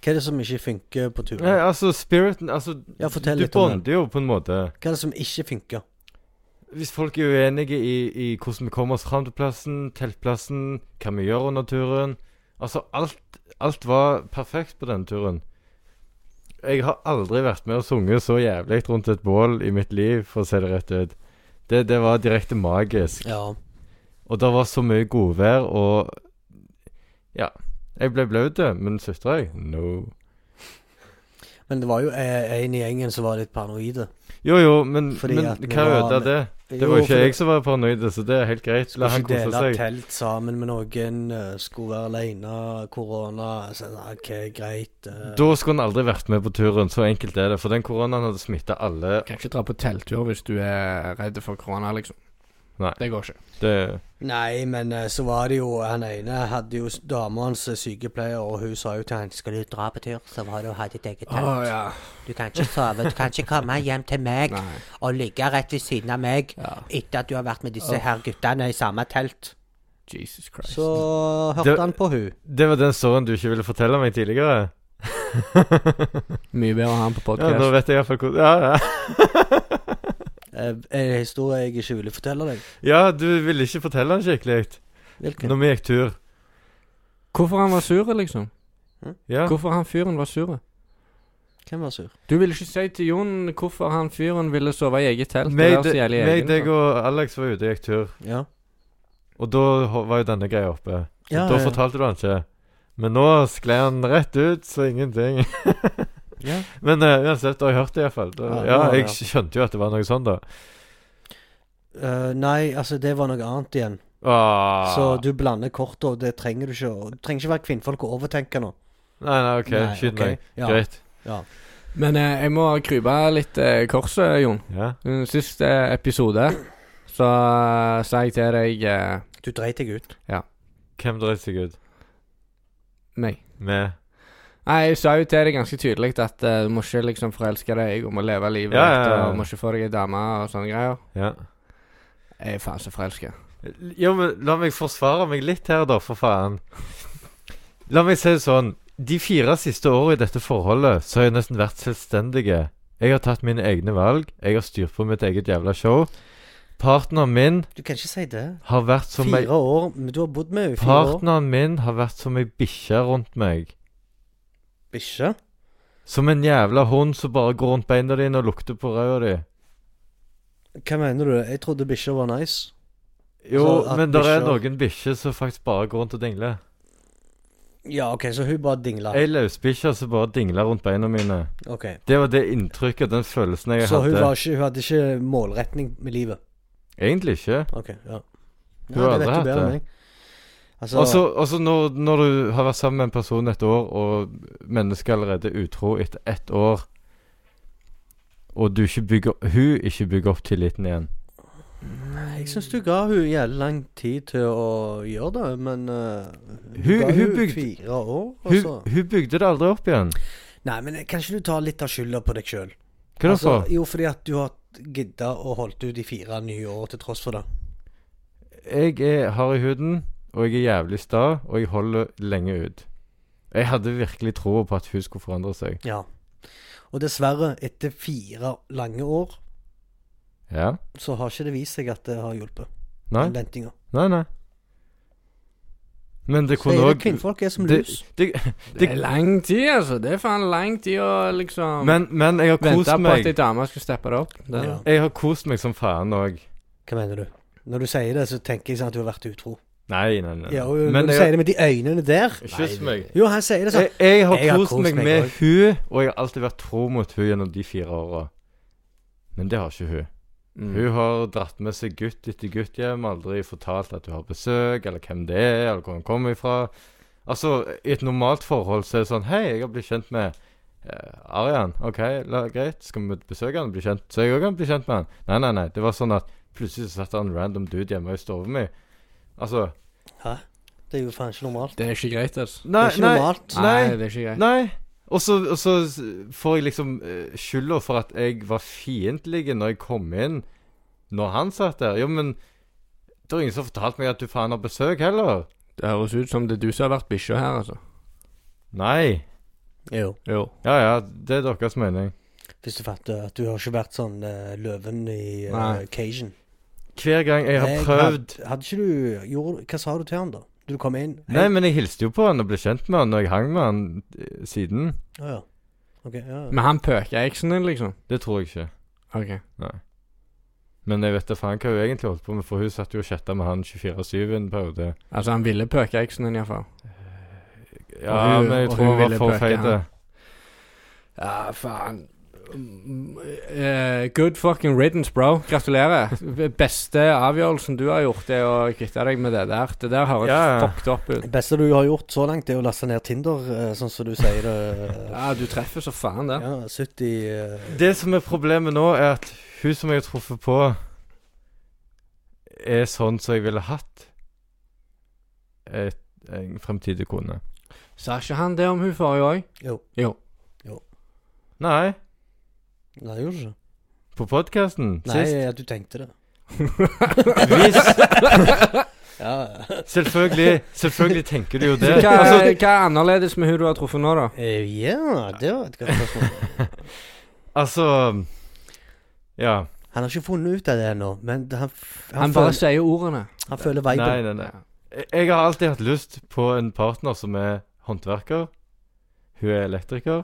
Speaker 1: hva er det som ikke funker på turen?
Speaker 3: Nei, altså, spiriten Altså,
Speaker 1: Ja, fortell
Speaker 3: du
Speaker 1: litt om det.
Speaker 3: bonder jo på en måte.
Speaker 1: Hva er det som ikke funker?
Speaker 3: Hvis folk er uenige i, i hvordan vi kommer oss fram til plassen, teltplassen, hva vi gjør under turen Altså, alt, alt var perfekt på denne turen. Jeg har aldri vært med og sunget så jævlig rundt et bål i mitt liv, for å si det rett ut. Det, det var direkte magisk.
Speaker 1: Ja.
Speaker 3: Og det var så mye godvær, og Ja. Jeg ble blaut, men sutra jeg? No.
Speaker 1: Men det var jo eh, en i gjengen som var litt paranoide.
Speaker 3: Jo, jo, men,
Speaker 1: Fordi
Speaker 3: men
Speaker 1: at vi
Speaker 3: hva
Speaker 1: var
Speaker 3: ødela
Speaker 1: med-
Speaker 3: det? Det var jo ikke jeg som var paranoid, så det er helt greit. La
Speaker 1: Skulle
Speaker 3: han
Speaker 1: ikke
Speaker 3: kose
Speaker 1: dele
Speaker 3: seg.
Speaker 1: telt sammen med noen, eh, skulle være alene, korona så, nei, OK, greit. eh.
Speaker 3: Da skulle han aldri vært med på turen, så enkelt er det. For den koronaen hadde smitta alle.
Speaker 2: Kan ikke dra på telttur hvis du er redd for korona, liksom.
Speaker 3: Nei.
Speaker 2: Det går ikke.
Speaker 3: Det,
Speaker 1: Nei, men eh, så var det jo Han ene hadde jo s- dama hans er sykepleier, og hun sa jo til han Skal du dra på tur, så må du ha ditt eget
Speaker 2: Å
Speaker 1: telt.
Speaker 3: Ah,
Speaker 2: ja.
Speaker 1: Du kan ikke sove. Du kan ikke komme hjem til meg
Speaker 2: Nei.
Speaker 1: og ligge rett ved siden av meg
Speaker 2: Ja.
Speaker 1: etter at du har vært med
Speaker 3: Ah.
Speaker 1: disse her guttene i samme telt.
Speaker 2: Jesus Christ.
Speaker 1: Så hørte
Speaker 3: Det-
Speaker 1: han på hun.
Speaker 3: det var den storyen du ikke ville fortelle meg tidligere.
Speaker 2: Mye bedre å ha han på
Speaker 3: Ja, nå
Speaker 2: podkast.
Speaker 3: vet jeg iallfall hvor Ja, ja.
Speaker 1: Eh, En historie jeg ikke ville fortelle deg.
Speaker 3: ja, du ville ikke fortelle den skikkelig
Speaker 1: Hvilken?
Speaker 3: når vi gikk tur.
Speaker 2: Hvorfor han var sur, liksom?
Speaker 3: Ja.
Speaker 2: Hvorfor han fyren var sur?
Speaker 1: Hvem var sur?
Speaker 2: Du ville ikke si til Jon hvorfor han fyren ville sove i eget telt. det
Speaker 3: Meg,
Speaker 2: er så jævlig
Speaker 3: meg,
Speaker 2: egen,
Speaker 3: deg
Speaker 2: da.
Speaker 3: og Alex var ute og gikk tur,
Speaker 1: Ja.
Speaker 3: og da ho- var jo denne greia oppe.
Speaker 1: Ja,
Speaker 3: da
Speaker 1: ja.
Speaker 3: fortalte du han ikke. Men nå sklei han rett ut, så ingenting.
Speaker 1: Ja.
Speaker 3: Men eh, uansett, du har hørt det iallfall.
Speaker 1: Ja,
Speaker 3: Ja,
Speaker 1: det
Speaker 3: ja,
Speaker 1: har jeg
Speaker 3: jeg skjønte jo at det var noe sånn, da.
Speaker 1: Eh, nei, altså, det var noe annet igjen.
Speaker 3: Ah.
Speaker 1: Så du blander kort, og det trenger du ikke. å- Du trenger ikke være kvinnfolk og overtenke nå.
Speaker 3: Nei, nei, OK.
Speaker 1: Nei,
Speaker 3: Skyt
Speaker 1: ok,
Speaker 3: meg.
Speaker 1: ja.
Speaker 3: Greit.
Speaker 1: Ja.
Speaker 2: Men eh, jeg må krype litt eh, korset, Jon.
Speaker 3: Ja.
Speaker 2: Mm, Siste episode så eh, sa jeg til deg eh,
Speaker 1: Du dreit deg ut.
Speaker 3: Hvem dreit seg ut?
Speaker 2: meg.
Speaker 3: Med
Speaker 2: Nei, jeg sa jo til deg ganske tydelig at eh, du må ikke liksom forelske deg og må leve livet
Speaker 3: Ja, ja, ja.
Speaker 2: ditt og må ikke få deg ei dame og sånne greier.
Speaker 3: Ja.
Speaker 2: Jeg er faen så forelska.
Speaker 3: Jo, men la meg forsvare meg litt her, da, for faen. La meg si det sånn. De fire siste årene i dette forholdet så har jeg nesten vært selvstendige. Jeg har tatt mine egne valg. Jeg har styrt på mitt eget jævla show. Partneren min
Speaker 1: Du kan ikke si det.
Speaker 3: har vært som ei
Speaker 1: Fire år, men du har bodd med henne i fire år.
Speaker 3: Partneren min har vært som ei bikkje rundt meg.
Speaker 1: Bikkje?
Speaker 3: Som en jævla hund som bare går rundt beina dine og lukter på ræva di.
Speaker 1: Hva mener du? Jeg trodde bikkja var nice.
Speaker 3: Jo,
Speaker 1: Så Altså, at
Speaker 3: men det er
Speaker 1: bikkjer-
Speaker 3: noen bikkjer som faktisk bare går rundt og dingler.
Speaker 1: Ja, OK, så hun bare dingla.
Speaker 3: Ei løsbikkje som bare dingla rundt beina mine.
Speaker 1: Ok.
Speaker 3: Det var det inntrykket, den følelsen jeg
Speaker 1: Så hun,
Speaker 3: hadde.
Speaker 1: var ikke, hun hadde ikke målretning med livet?
Speaker 3: Egentlig ikke.
Speaker 1: OK, ja.
Speaker 3: Hun har aldri hatt det.
Speaker 1: meg. Altså,
Speaker 3: Og så altså, når, når du har vært sammen med en person et år, og mennesket allerede er utro etter ett år, og du ikke bygger, hun ikke bygger opp tilliten igjen
Speaker 1: jeg syns du ga hun jævlig lang tid til å gjøre det, men eh,
Speaker 3: Hun-
Speaker 1: ga
Speaker 3: hun
Speaker 1: hun
Speaker 3: bygde-
Speaker 1: fire år, og
Speaker 3: hun,
Speaker 1: så
Speaker 3: hun bygde det aldri opp igjen.
Speaker 1: Nei, men kan ikke du ta litt av skylda på deg sjøl?
Speaker 3: Hva er det for?
Speaker 1: jo, fordi at du har gidda å holdt ut i fire nye år til tross for det. Altså-
Speaker 3: Jeg er hard i huden, og jeg er jævlig sta, og jeg holder lenge ut. Jeg hadde virkelig troa på at hun skulle forandre seg.
Speaker 1: Ja. Og dessverre, etter fire lange år,
Speaker 3: Ja?
Speaker 1: så har ikke det vist seg at det har hjulpet.
Speaker 3: Nei?
Speaker 1: Den ventinga.
Speaker 3: Nei, nei. Men det
Speaker 1: Det
Speaker 3: kunne
Speaker 1: er det
Speaker 3: òg
Speaker 1: kvinnfolk er som
Speaker 3: det-
Speaker 1: lus.
Speaker 3: det-
Speaker 2: Det er lang tid, altså. Det er faen lang tid å liksom
Speaker 3: Men, men jeg har kost
Speaker 2: vente på at
Speaker 3: meg.
Speaker 2: ei dame skal steppe det opp. Det,
Speaker 1: Ja.
Speaker 3: Jeg har kost meg som faen òg.
Speaker 1: Hva mener du? Når du sier det, så tenker jeg sånn at du har vært utro.
Speaker 3: Nei, nei, nei.
Speaker 1: Ja, og når
Speaker 3: Men
Speaker 1: du
Speaker 3: jeg,
Speaker 1: sier det med de øynene der
Speaker 3: kyss meg.
Speaker 1: Jo, han sier det sånn.
Speaker 3: Jeg, jeg har
Speaker 1: Jeg har
Speaker 3: kost
Speaker 1: kost
Speaker 3: meg
Speaker 1: meg
Speaker 3: med
Speaker 1: også.
Speaker 3: hun, og jeg har alltid vært tro mot hun gjennom de fire åra. Men det har ikke hun.
Speaker 2: Mm.
Speaker 3: Hun har dratt med seg gutt etter gutt hjem, aldri fortalt at hun har besøk, eller hvem det er, eller hvor hun kommer ifra. Altså, i et normalt forhold så er det sånn Hei, jeg har blitt kjent med eh, Arian. OK, la, greit, skal vi besøke han og bli kjent? Så jeg òg kan bli kjent med han. Nei, nei, nei. Det var sånn at plutselig så satt det en random dude hjemme i stua mi. Altså
Speaker 1: Hæ? Det er jo faen ikke normalt.
Speaker 2: Det er ikke greit, altså.
Speaker 3: Nei,
Speaker 1: ikke
Speaker 3: nei,
Speaker 1: normalt.
Speaker 3: nei,
Speaker 2: det er ikke greit.
Speaker 3: nei. Og så, og så s- får jeg liksom eh, skylda for at jeg var fiendtlig når jeg kom inn, når han satt der. Jo, men det er ingen som har fortalt meg at du faen har besøk heller.
Speaker 2: Det høres ut som det er du som har vært bikkja her, altså.
Speaker 3: Nei.
Speaker 1: Jo.
Speaker 2: Jo.
Speaker 3: Ja ja, det er deres mening.
Speaker 1: Hvis du fatter at du har ikke vært sånn eh, løven i eh,
Speaker 2: Nei.
Speaker 1: Cajun.
Speaker 3: Hver gang jeg har
Speaker 1: Jeg
Speaker 3: prøvd
Speaker 1: Hadde, hadde ikke du gjorde, Hva sa du til han, da? Du kom inn
Speaker 3: Nei, men jeg hilste jo på han og ble kjent med han, og jeg hang med han eh, siden.
Speaker 1: Å ja. Ok, ja.
Speaker 2: Men han pøker eksen din, liksom?
Speaker 3: Det tror jeg ikke.
Speaker 2: OK.
Speaker 3: Men jeg vet da faen hva hun egentlig holdt på med, for hun satt jo og chatta med han 24-7 en periode.
Speaker 2: Altså, han ville pøke eksen din, iallfall.
Speaker 3: Ja,
Speaker 2: Og hun-
Speaker 3: men jeg
Speaker 2: og
Speaker 3: tror
Speaker 2: hun
Speaker 3: hun var
Speaker 2: ville
Speaker 3: for
Speaker 2: pøke
Speaker 3: feit.
Speaker 2: han. Ja, faen. Mm, eh, good fucking riddance, bro. Gratulerer. Beste avgjørelsen du har gjort, er å kvitte deg med det der. Det der høres
Speaker 3: Ja.
Speaker 2: fucked up ut.
Speaker 1: Det beste du har gjort så langt, det er å laste ned Tinder, eh, sånn som du sier det. eh,
Speaker 2: Ja, du treffer så faen, det.
Speaker 1: ja, 70 eh,
Speaker 3: Det som er problemet nå, er at hun som jeg har truffet på, er sånn som jeg ville hatt et, en fremtidig kone.
Speaker 2: Sa ikke han det om hun forrige òg?
Speaker 1: Jo.
Speaker 2: Jo.
Speaker 3: Nei,
Speaker 1: Nei, gjorde du ikke?
Speaker 3: på podkasten
Speaker 1: Nei,
Speaker 3: sist.
Speaker 1: at du tenkte det.
Speaker 3: Hvis,
Speaker 1: Ja,
Speaker 3: selvfølgelig, selvfølgelig tenker du jo det.
Speaker 2: Så hva,
Speaker 3: Altså,
Speaker 2: hva er annerledes med hun du har truffet nå, da?
Speaker 1: Eh, ja det var et godt spørsmål.
Speaker 3: altså Ja.
Speaker 1: Han har ikke funnet ut av det ennå, men han, f- han,
Speaker 2: Han bare
Speaker 1: føler,
Speaker 2: sier ordene.
Speaker 1: han føler
Speaker 3: Nei,
Speaker 1: viben.
Speaker 3: nei, nei. Jeg- Jeg har alltid hatt lyst på en partner som er håndverker. Hun er elektriker.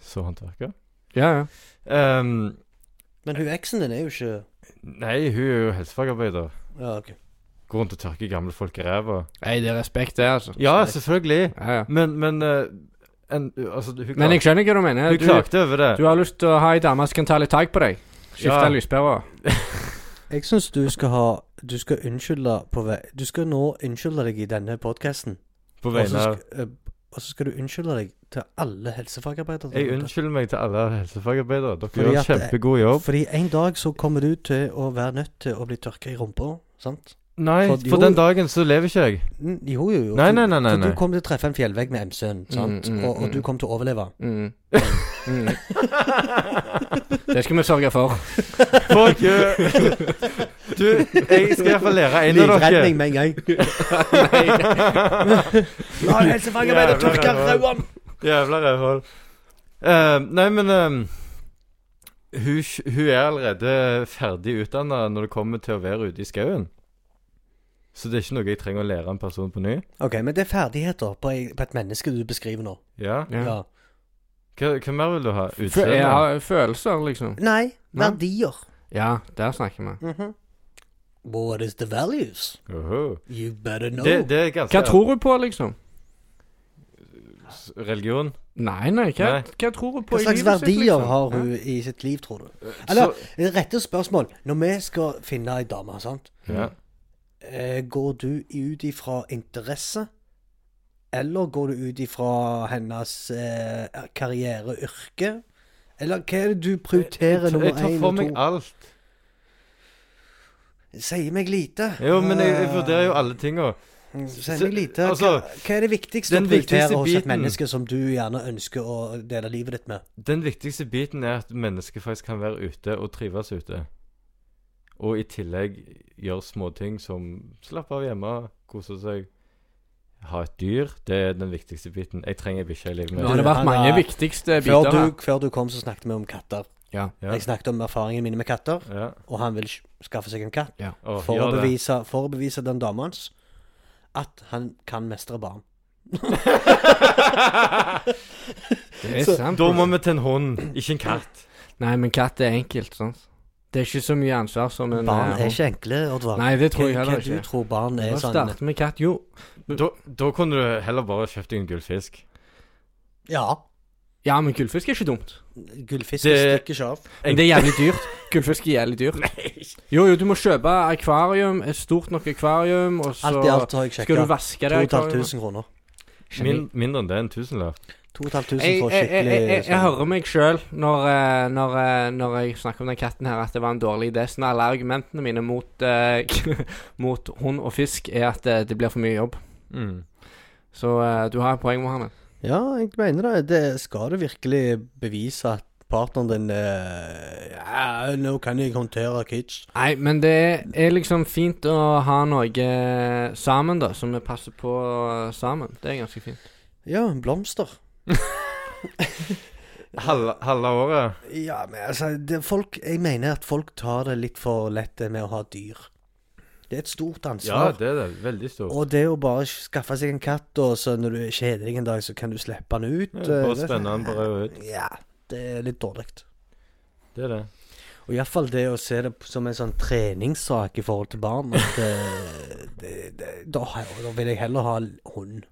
Speaker 3: Så håndverker.
Speaker 2: Ja, ja.
Speaker 3: Ehm,
Speaker 1: Men hun eksen din er jo ikke
Speaker 3: nei, hun er jo helsefagarbeider.
Speaker 1: Ja, ok.
Speaker 3: Går rundt og tørker gamle folk i ræva.
Speaker 2: Nei, det er respekt, det, altså.
Speaker 3: Ja, selvfølgelig.
Speaker 2: Ja, ja.
Speaker 3: Men, men eh, en, Altså, hun,
Speaker 2: Men jeg
Speaker 3: klagde,
Speaker 2: skjønner hva du mener.
Speaker 3: hun
Speaker 2: Du,
Speaker 3: klagde over det.
Speaker 2: du har lyst til å ha ei dame som kan ta litt tak på deg. Skifte
Speaker 3: Ja.
Speaker 2: lyspæra.
Speaker 1: Jeg syns du skal ha Du skal unnskylde på vei Du skal nå unnskylde deg i denne podkasten.
Speaker 3: på
Speaker 1: Og
Speaker 3: vegne
Speaker 1: så
Speaker 3: av
Speaker 1: sk- eh, og så skal du unnskylde deg til alle helsefagarbeidere.
Speaker 3: Jeg unnskylder meg til alle helsefagarbeidere. Dere
Speaker 1: Fordi
Speaker 3: gjør en
Speaker 1: at det-
Speaker 3: kjempegod jobb.
Speaker 1: Fordi en dag så kommer du til å være nødt til å bli tørka i rumpa, sant?
Speaker 3: Nei,
Speaker 1: for-
Speaker 3: for
Speaker 1: jo.
Speaker 3: den dagen så lever ikke jeg.
Speaker 1: Mm, Jo, jo, jo.
Speaker 3: Nei,
Speaker 1: For-
Speaker 3: nei, nei, nei,
Speaker 1: For du
Speaker 3: nei.
Speaker 1: kommer til å treffe en fjellvegg med MC-en, sant?
Speaker 2: Mm, mm,
Speaker 1: og, og du
Speaker 2: mm.
Speaker 1: kommer til å overleve.
Speaker 2: Mm. Mm. Det skal vi sørge for.
Speaker 3: Fuck you! Du, jeg skal iallfall lære en av dere.
Speaker 1: Livredning med en gang. La en helsefagarbeidere
Speaker 3: Jævla
Speaker 1: tørke
Speaker 3: rævhål.
Speaker 1: ræva!
Speaker 3: Jævla rævhål. Eh, nei, men eh, hun, hun er allerede ferdig utdanna når det kommer til å være ute i skauen. Så det er ikke noe jeg trenger å lære en person på ny.
Speaker 1: Ok, men det er ferdigheter på, ei- på et menneske du beskriver nå.
Speaker 3: Ja.
Speaker 2: Ja.
Speaker 1: Ja.
Speaker 3: Hva, hva mer vil du ha?
Speaker 2: Fø jeg
Speaker 3: Utseende?
Speaker 2: har følelser, liksom.
Speaker 1: Nei,
Speaker 2: Nei.
Speaker 1: verdier.
Speaker 2: Ja, der snakker vi.
Speaker 1: Mhm. What is the values?
Speaker 3: Oho.
Speaker 1: You better know.
Speaker 3: Det, det er ganske
Speaker 2: Hva tror du på, liksom?
Speaker 3: s- religion.
Speaker 2: Nei, nei, hva,
Speaker 3: Nei.
Speaker 2: hva tror hun på
Speaker 1: Hva
Speaker 2: i
Speaker 1: slags
Speaker 2: livet sitt,
Speaker 1: verdier
Speaker 2: liksom?
Speaker 1: har hun i sitt liv, tror
Speaker 2: Eh,
Speaker 1: du? Eller, rette spørsmål. Når vi skal finne ei dame, sant?
Speaker 3: Ja.
Speaker 1: Eh, Går du ut ifra interesse? Eller går du ut ifra hennes eh, karriere, yrke? Eller hva er det du prioriterer
Speaker 3: Jeg
Speaker 1: nummer
Speaker 3: tar
Speaker 1: én
Speaker 3: for
Speaker 1: og
Speaker 3: meg
Speaker 1: to?
Speaker 3: alt.
Speaker 1: Sier meg lite.
Speaker 3: Jo, men jeg, jeg
Speaker 1: Eh,
Speaker 3: vurderer jo alle tinga.
Speaker 1: Sier
Speaker 3: Så-
Speaker 1: meg lite. Hva,
Speaker 3: altså,
Speaker 1: hva er det viktigste å
Speaker 3: den viktigste
Speaker 1: prioritere hos et
Speaker 3: biten-
Speaker 1: menneske som du gjerne ønsker å dele livet ditt med?
Speaker 3: Den viktigste biten er at mennesket faktisk kan være ute og trives ute. Og i tillegg gjøre småting som slappe av hjemme, kose seg. Ha et dyr. Det er den viktigste biten. Jeg trenger bikkje i livet
Speaker 2: Nå
Speaker 3: mitt.
Speaker 2: har det vært
Speaker 1: Han er-
Speaker 2: mange viktigste
Speaker 1: Før
Speaker 2: biter her.
Speaker 1: du, før du kom, så snakket vi om katter.
Speaker 2: Ja.
Speaker 3: Ja.
Speaker 1: Jeg snakket om erfaringene mine med katter,
Speaker 3: Ja.
Speaker 1: og han vil sk- skaffe seg en katt
Speaker 3: Å,
Speaker 1: for, å
Speaker 3: gjør det.
Speaker 1: bevise, for å bevise den dama hans at han kan mestre barn.
Speaker 2: Det er
Speaker 1: Så-
Speaker 2: sant. altså.
Speaker 3: Da må vi til en hund, ikke en katt.
Speaker 2: Nei, men katt er enkelt, sant. Det er ikke så mye ansvar som en
Speaker 1: barn
Speaker 2: eh,
Speaker 1: er ikke enkle, Oddvar.
Speaker 2: Nei, det tror jeg
Speaker 1: Hva-
Speaker 2: heller
Speaker 1: hva
Speaker 2: ikke.
Speaker 1: Du tror barn er
Speaker 2: Hva
Speaker 1: sånn
Speaker 2: starter med katt? Jo,
Speaker 3: Da, da kunne du heller bare kjøpt deg en gullfisk.
Speaker 1: Ja.
Speaker 2: ja, men gullfisk er ikke dumt.
Speaker 1: Gullfisk
Speaker 3: Det-
Speaker 1: stikker ikke av.
Speaker 2: Men det er jævlig dyrt. Gullfisk er jævlig dyrt. Jo, jo, du må kjøpe akvarium, et stort nok akvarium, og så
Speaker 1: Alt i alt har jeg
Speaker 2: skal du
Speaker 1: sjekka.
Speaker 2: vaske det akvariet.
Speaker 1: 2500 kroner.
Speaker 3: Min, mindre enn det, en tusenlapp.
Speaker 1: 2500
Speaker 2: Jeg,
Speaker 1: for
Speaker 2: jeg, jeg,
Speaker 1: skikkelig
Speaker 2: jeg, jeg, jeg
Speaker 1: sånn-
Speaker 2: hører meg sjøl når, eh, når, eh, når jeg snakker om den katten her, at det var en dårlig idé. Så alle argumentene mine mot, eh, mot hund og fisk er at eh, det blir for mye jobb.
Speaker 3: Mm.
Speaker 2: Så eh, du har et poeng, Mohammed.
Speaker 1: Ja, jeg mener det. det skal du virkelig bevise at partneren din eh, Ja, nå kan jeg håndtere kids.
Speaker 2: Nei, men det er liksom fint å ha noe eh, sammen, da, som vi passer på eh, sammen. Det er ganske fint.
Speaker 1: Ja, blomster.
Speaker 3: Halve halve året.
Speaker 1: Ja, men altså det, folk, Jeg mener at folk tar det litt for lett det med å ha dyr. Det er et stort
Speaker 3: Ja,
Speaker 1: ansvar.
Speaker 3: det er det. Veldig stort.
Speaker 1: og det å bare skaffe seg en katt, og så når du er kjedelig en dag, så kan du slippe den ut
Speaker 3: Ja,
Speaker 1: eh,
Speaker 3: Bare
Speaker 1: det-
Speaker 3: spenne den bare ut.
Speaker 1: Ja, det er litt dårlig.
Speaker 3: Det er det.
Speaker 1: Og iallfall det å se det som en sånn treningssak i forhold til barn. At, eh, det, det, da, har jeg- da vil jeg heller ha hund.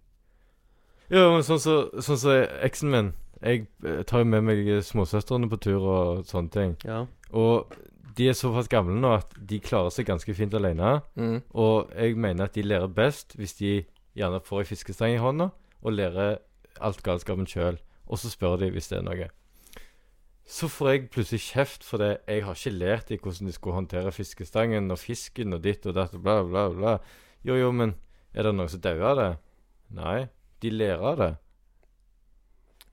Speaker 3: Jo, men sånn som så, sånn som eksen min Jeg eh, tar jo med meg småsøstrene på tur og sånne ting.
Speaker 1: Ja.
Speaker 3: Og de er såpass gamle nå at de klarer seg ganske fint alene.
Speaker 2: Mm.
Speaker 3: Og jeg mener at de lærer best hvis de gjerne får ei fiskestang i hånda og lærer alt galskapen sjøl. Og så spør de hvis det er noe. Så får jeg plutselig kjeft fordi jeg har ikke lært dem hvordan de skulle håndtere fiskestangen og fisken og ditt og datt og bla, bla, bla. Jo, jo, men er det noen som dauer av det? Nei. De lærer av det.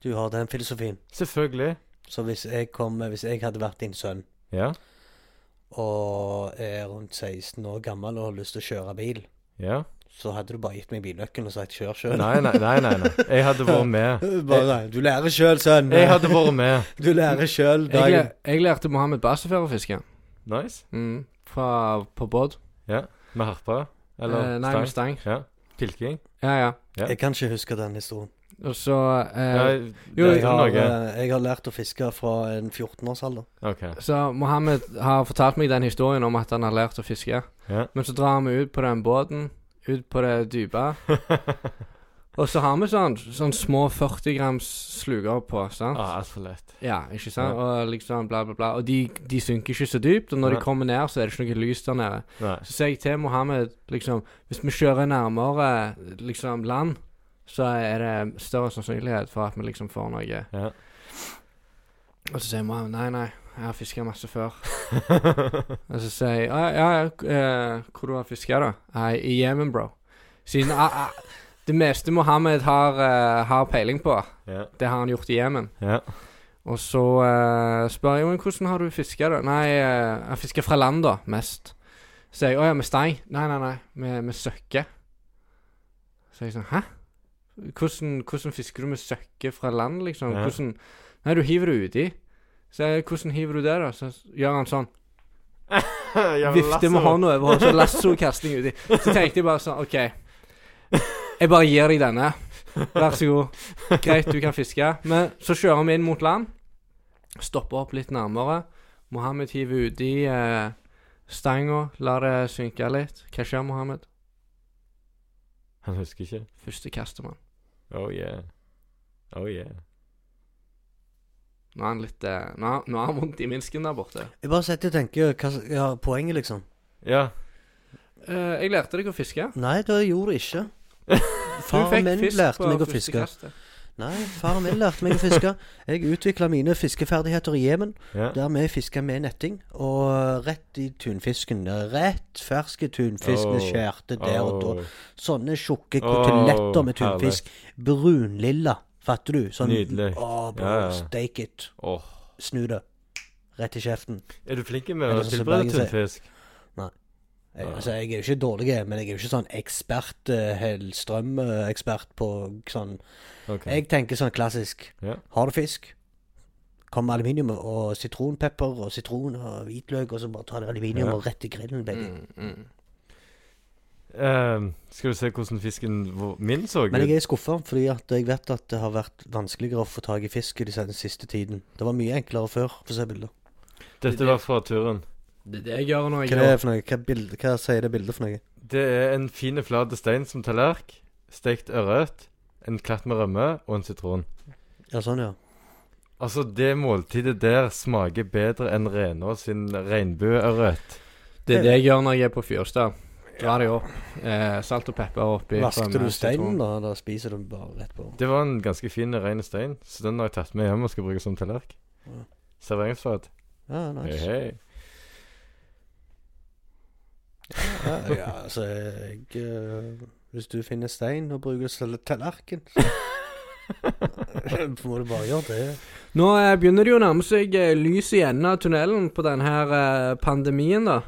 Speaker 1: Du har den filosofien.
Speaker 3: Selvfølgelig.
Speaker 1: Så hvis jeg, kom, hvis jeg hadde vært din sønn
Speaker 3: Ja.
Speaker 1: og er rundt 16 år gammel og har lyst til å kjøre bil,
Speaker 3: Ja.
Speaker 1: så hadde du bare gitt meg bilnøkkelen og sagt 'kjør sjøl'.
Speaker 3: Nei, nei, nei. nei, nei. Jeg hadde vært med.
Speaker 1: Bare, du lærer sjøl, sønn.
Speaker 3: Jeg hadde vært med.
Speaker 1: Du lærer sjøl.
Speaker 2: Jeg, lær- jeg lærte Mohammed Basefjær å fiske.
Speaker 3: Nice.
Speaker 2: Mm. Fra, på båt.
Speaker 3: Med harpe. Eller
Speaker 2: Eh, nei,
Speaker 3: stang.
Speaker 2: med stang.
Speaker 3: Ja. Pilking.
Speaker 2: Ja, ja.
Speaker 3: Ja.
Speaker 1: Jeg kan ikke huske den historien.
Speaker 2: Og så eh,
Speaker 3: Ja,
Speaker 2: jo,
Speaker 3: det
Speaker 1: Jeg
Speaker 3: er
Speaker 1: har,
Speaker 3: noe.
Speaker 1: eh, jeg har lært å fiske fra en 14-årsalder.
Speaker 2: eh,
Speaker 3: OK.
Speaker 2: Så Mohammed har fortalt meg den historien om at han har lært å fiske.
Speaker 3: Ja.
Speaker 2: Men så drar vi ut på den båten, ut på det dype. Og så har vi sånn, sånn små 40 grams sluker på. sant?
Speaker 3: Ah, Altfor lett.
Speaker 2: Ja, ikke sant? Og liksom bla, bla, bla. Og de, de synker ikke så dypt, og når
Speaker 3: Nei.
Speaker 2: de kommer ned, så er det ikke noe lys der nede.
Speaker 3: Nei.
Speaker 2: Så sier jeg til Mohammed liksom Hvis vi kjører nærmere liksom land, så er det større sannsynlighet for at vi liksom får noe.
Speaker 3: Ja.
Speaker 2: Og så sier Mohammed nei, nei, jeg har fiska masse før. og så sier jeg «Ah, ja, ja, ja, k- eh, hvor du har fiska, da? Nei, i Jemen, bro. Siden ah, ah, det meste Mohammed har, eh, har peiling på,
Speaker 3: Ja.
Speaker 2: det har han gjort i Jemen.
Speaker 3: Ja.
Speaker 2: Og så eh, spør jeg «Jo, men hvordan har du fiska, da? Nei, eh, jeg fisker fra land, da, mest. Så sier jeg å ja, med stang. Nei, nei, nei, med, med søkke. Så jeg sånn hæ? Hvordan, hvordan fisker du med søkke fra land, liksom?
Speaker 3: Ja.
Speaker 2: Hvordan Nei, du hiver det uti. Så jeg hvordan hiver du det, da? Så gjør han sånn. Vifter med hånda over og så lassokasting uti. Så tenkte jeg bare sånn OK. Jeg bare gir deg denne. Vær så god. Greit, du kan fiske. Men så kjører vi inn mot land. Stopper opp litt nærmere. Mohammed hiver uti eh, stanga. Lar det synke litt. Hva skjer, Mohammed?
Speaker 3: Han husker ikke.
Speaker 2: Første kastemann.
Speaker 3: Oh yeah. Oh yeah.
Speaker 2: Nå er han litt eh, Nå har- nå har han vondt i minsken der borte.
Speaker 1: Jeg bare sitter og tenker hva s- ja, poenget, liksom.
Speaker 3: Ja.
Speaker 2: Eh, jeg lærte deg å fiske.
Speaker 1: Nei, det gjorde jeg ikke.
Speaker 2: Du fikk
Speaker 1: Faren min
Speaker 2: fisk
Speaker 1: lærte
Speaker 2: på
Speaker 1: meg å
Speaker 2: første
Speaker 1: fiske.
Speaker 2: kastet.
Speaker 1: Nei, faren min lærte meg å fiske. Jeg utvikla mine fiskeferdigheter i Jemen.
Speaker 3: ja.
Speaker 1: Der vi fiska med netting, og rett i tunfisken. Rett ferske tunfisken
Speaker 3: Åh.
Speaker 1: skjærte der og da.
Speaker 3: Åh,
Speaker 1: Sånne tjukke
Speaker 3: Åh,
Speaker 1: koteletter med tunfisk. Brunlilla, fatter du? Sånn,
Speaker 3: Nydelig.
Speaker 1: Å, bro,
Speaker 3: Ja, ja.
Speaker 1: Stake it.
Speaker 3: åh.
Speaker 1: Snu det. Rett i kjeften.
Speaker 3: Er du flink med
Speaker 1: Er
Speaker 3: å
Speaker 1: det sånn som
Speaker 3: tilberede
Speaker 1: Bergen sier?
Speaker 3: tunfisk?
Speaker 1: Jeg,
Speaker 3: Ja.
Speaker 1: altså, jeg er jo ikke dårlig, men jeg er jo ikke sånn ekspert, eh, Hellstrøm-ekspert på sånn
Speaker 3: Ok.
Speaker 1: Jeg tenker sånn klassisk.
Speaker 3: Ja.
Speaker 1: Har du fisk? Kom med aluminium og sitronpepper og sitron og hvitløk, og så bare ta det aluminium
Speaker 3: Ja.
Speaker 1: og rett i grillen, baby.
Speaker 2: Mm, mm.
Speaker 3: Ehm, skal du se hvordan fisken vår- min så ut?
Speaker 1: Men jeg er skuffa, fordi at jeg vet at det har vært vanskeligere å få tak i fisk i den siste tiden. Det var mye enklere før. Få se bildet.
Speaker 3: Dette var fra turen.
Speaker 2: Det er det jeg gjør når
Speaker 1: Hva
Speaker 2: jeg
Speaker 1: er
Speaker 2: går.
Speaker 1: det for noe? Hva, bilde, hva sier det bildet for noe?
Speaker 3: Det er en fin, flat stein som tallerk, stekt ørret, en klatt med rømme og en sitron.
Speaker 1: Ja, sånn, ja.
Speaker 3: Altså, det måltidet der smaker bedre enn Renå sin regnbueørret.
Speaker 2: Det er det jeg gjør når jeg er på Fyrstad. Drar de opp. Eh, salt og pepper oppi.
Speaker 1: Vasker
Speaker 2: rømme,
Speaker 1: du steinen
Speaker 2: sitron.
Speaker 1: da, eller spiser du den bare rett på?
Speaker 3: Det var en ganske fin, ren stein, så den har jeg tatt med hjem og skal bruke som tallerk.
Speaker 1: Ja.
Speaker 3: Serveringsfat.
Speaker 1: Ja,
Speaker 3: Hei,
Speaker 1: nice.
Speaker 3: hei.
Speaker 1: Ja, ja, altså, jeg eh, Hvis du finner stein og bruker det som tallerken, så må du bare gjøre det.
Speaker 2: Nå eh, begynner det jo å nærme seg eh, lys i enden av tunnelen på denne her eh, pandemien, da.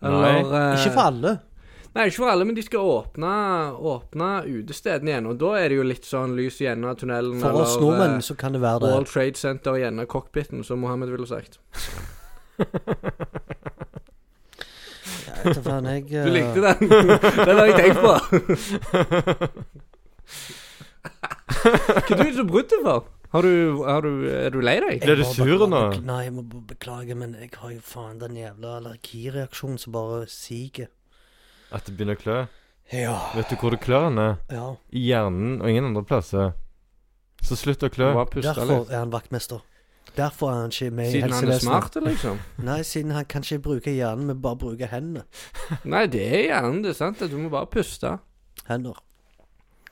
Speaker 2: eh,
Speaker 1: Ikke for alle.
Speaker 2: Nei, ikke for alle, men de skal åpne, åpne utestedene igjen. Og da er det jo litt sånn lys i enden av tunnelen.
Speaker 1: For oss
Speaker 2: eh,
Speaker 1: nordmenn så kan det være det.
Speaker 2: World Trade Center i enden av cockpiten, som Mohammed ville sagt.
Speaker 1: Ja, vet du faen, jeg eh,
Speaker 2: Du likte den? den har jeg tenkt på. Hva er det du brutt deg for? Har du, har du, er du lei deg?
Speaker 3: Blir du
Speaker 1: Jeg må
Speaker 3: sur
Speaker 1: bare-
Speaker 3: nå?
Speaker 1: bekl- Nei, jeg må bare beklage, men jeg har jo faen den jævla allergireaksjonen som bare siger.
Speaker 3: At det begynner å klø.
Speaker 1: Ja.
Speaker 3: Vet du hvor det klør den er?
Speaker 1: ja.
Speaker 3: I hjernen og ingen andre plasser. Så slutt å klø.
Speaker 2: Bare puste litt.
Speaker 1: Derfor er han vaktmester. Derfor er han ikke med i
Speaker 2: Siden han er
Speaker 1: helsevesenet.
Speaker 2: smart, liksom.
Speaker 1: Nei, siden han kan ikke bruke hjernen, men bare bruke hendene.
Speaker 2: Nei, det er hjernen, det er sant. Du må bare puste.
Speaker 1: Hender.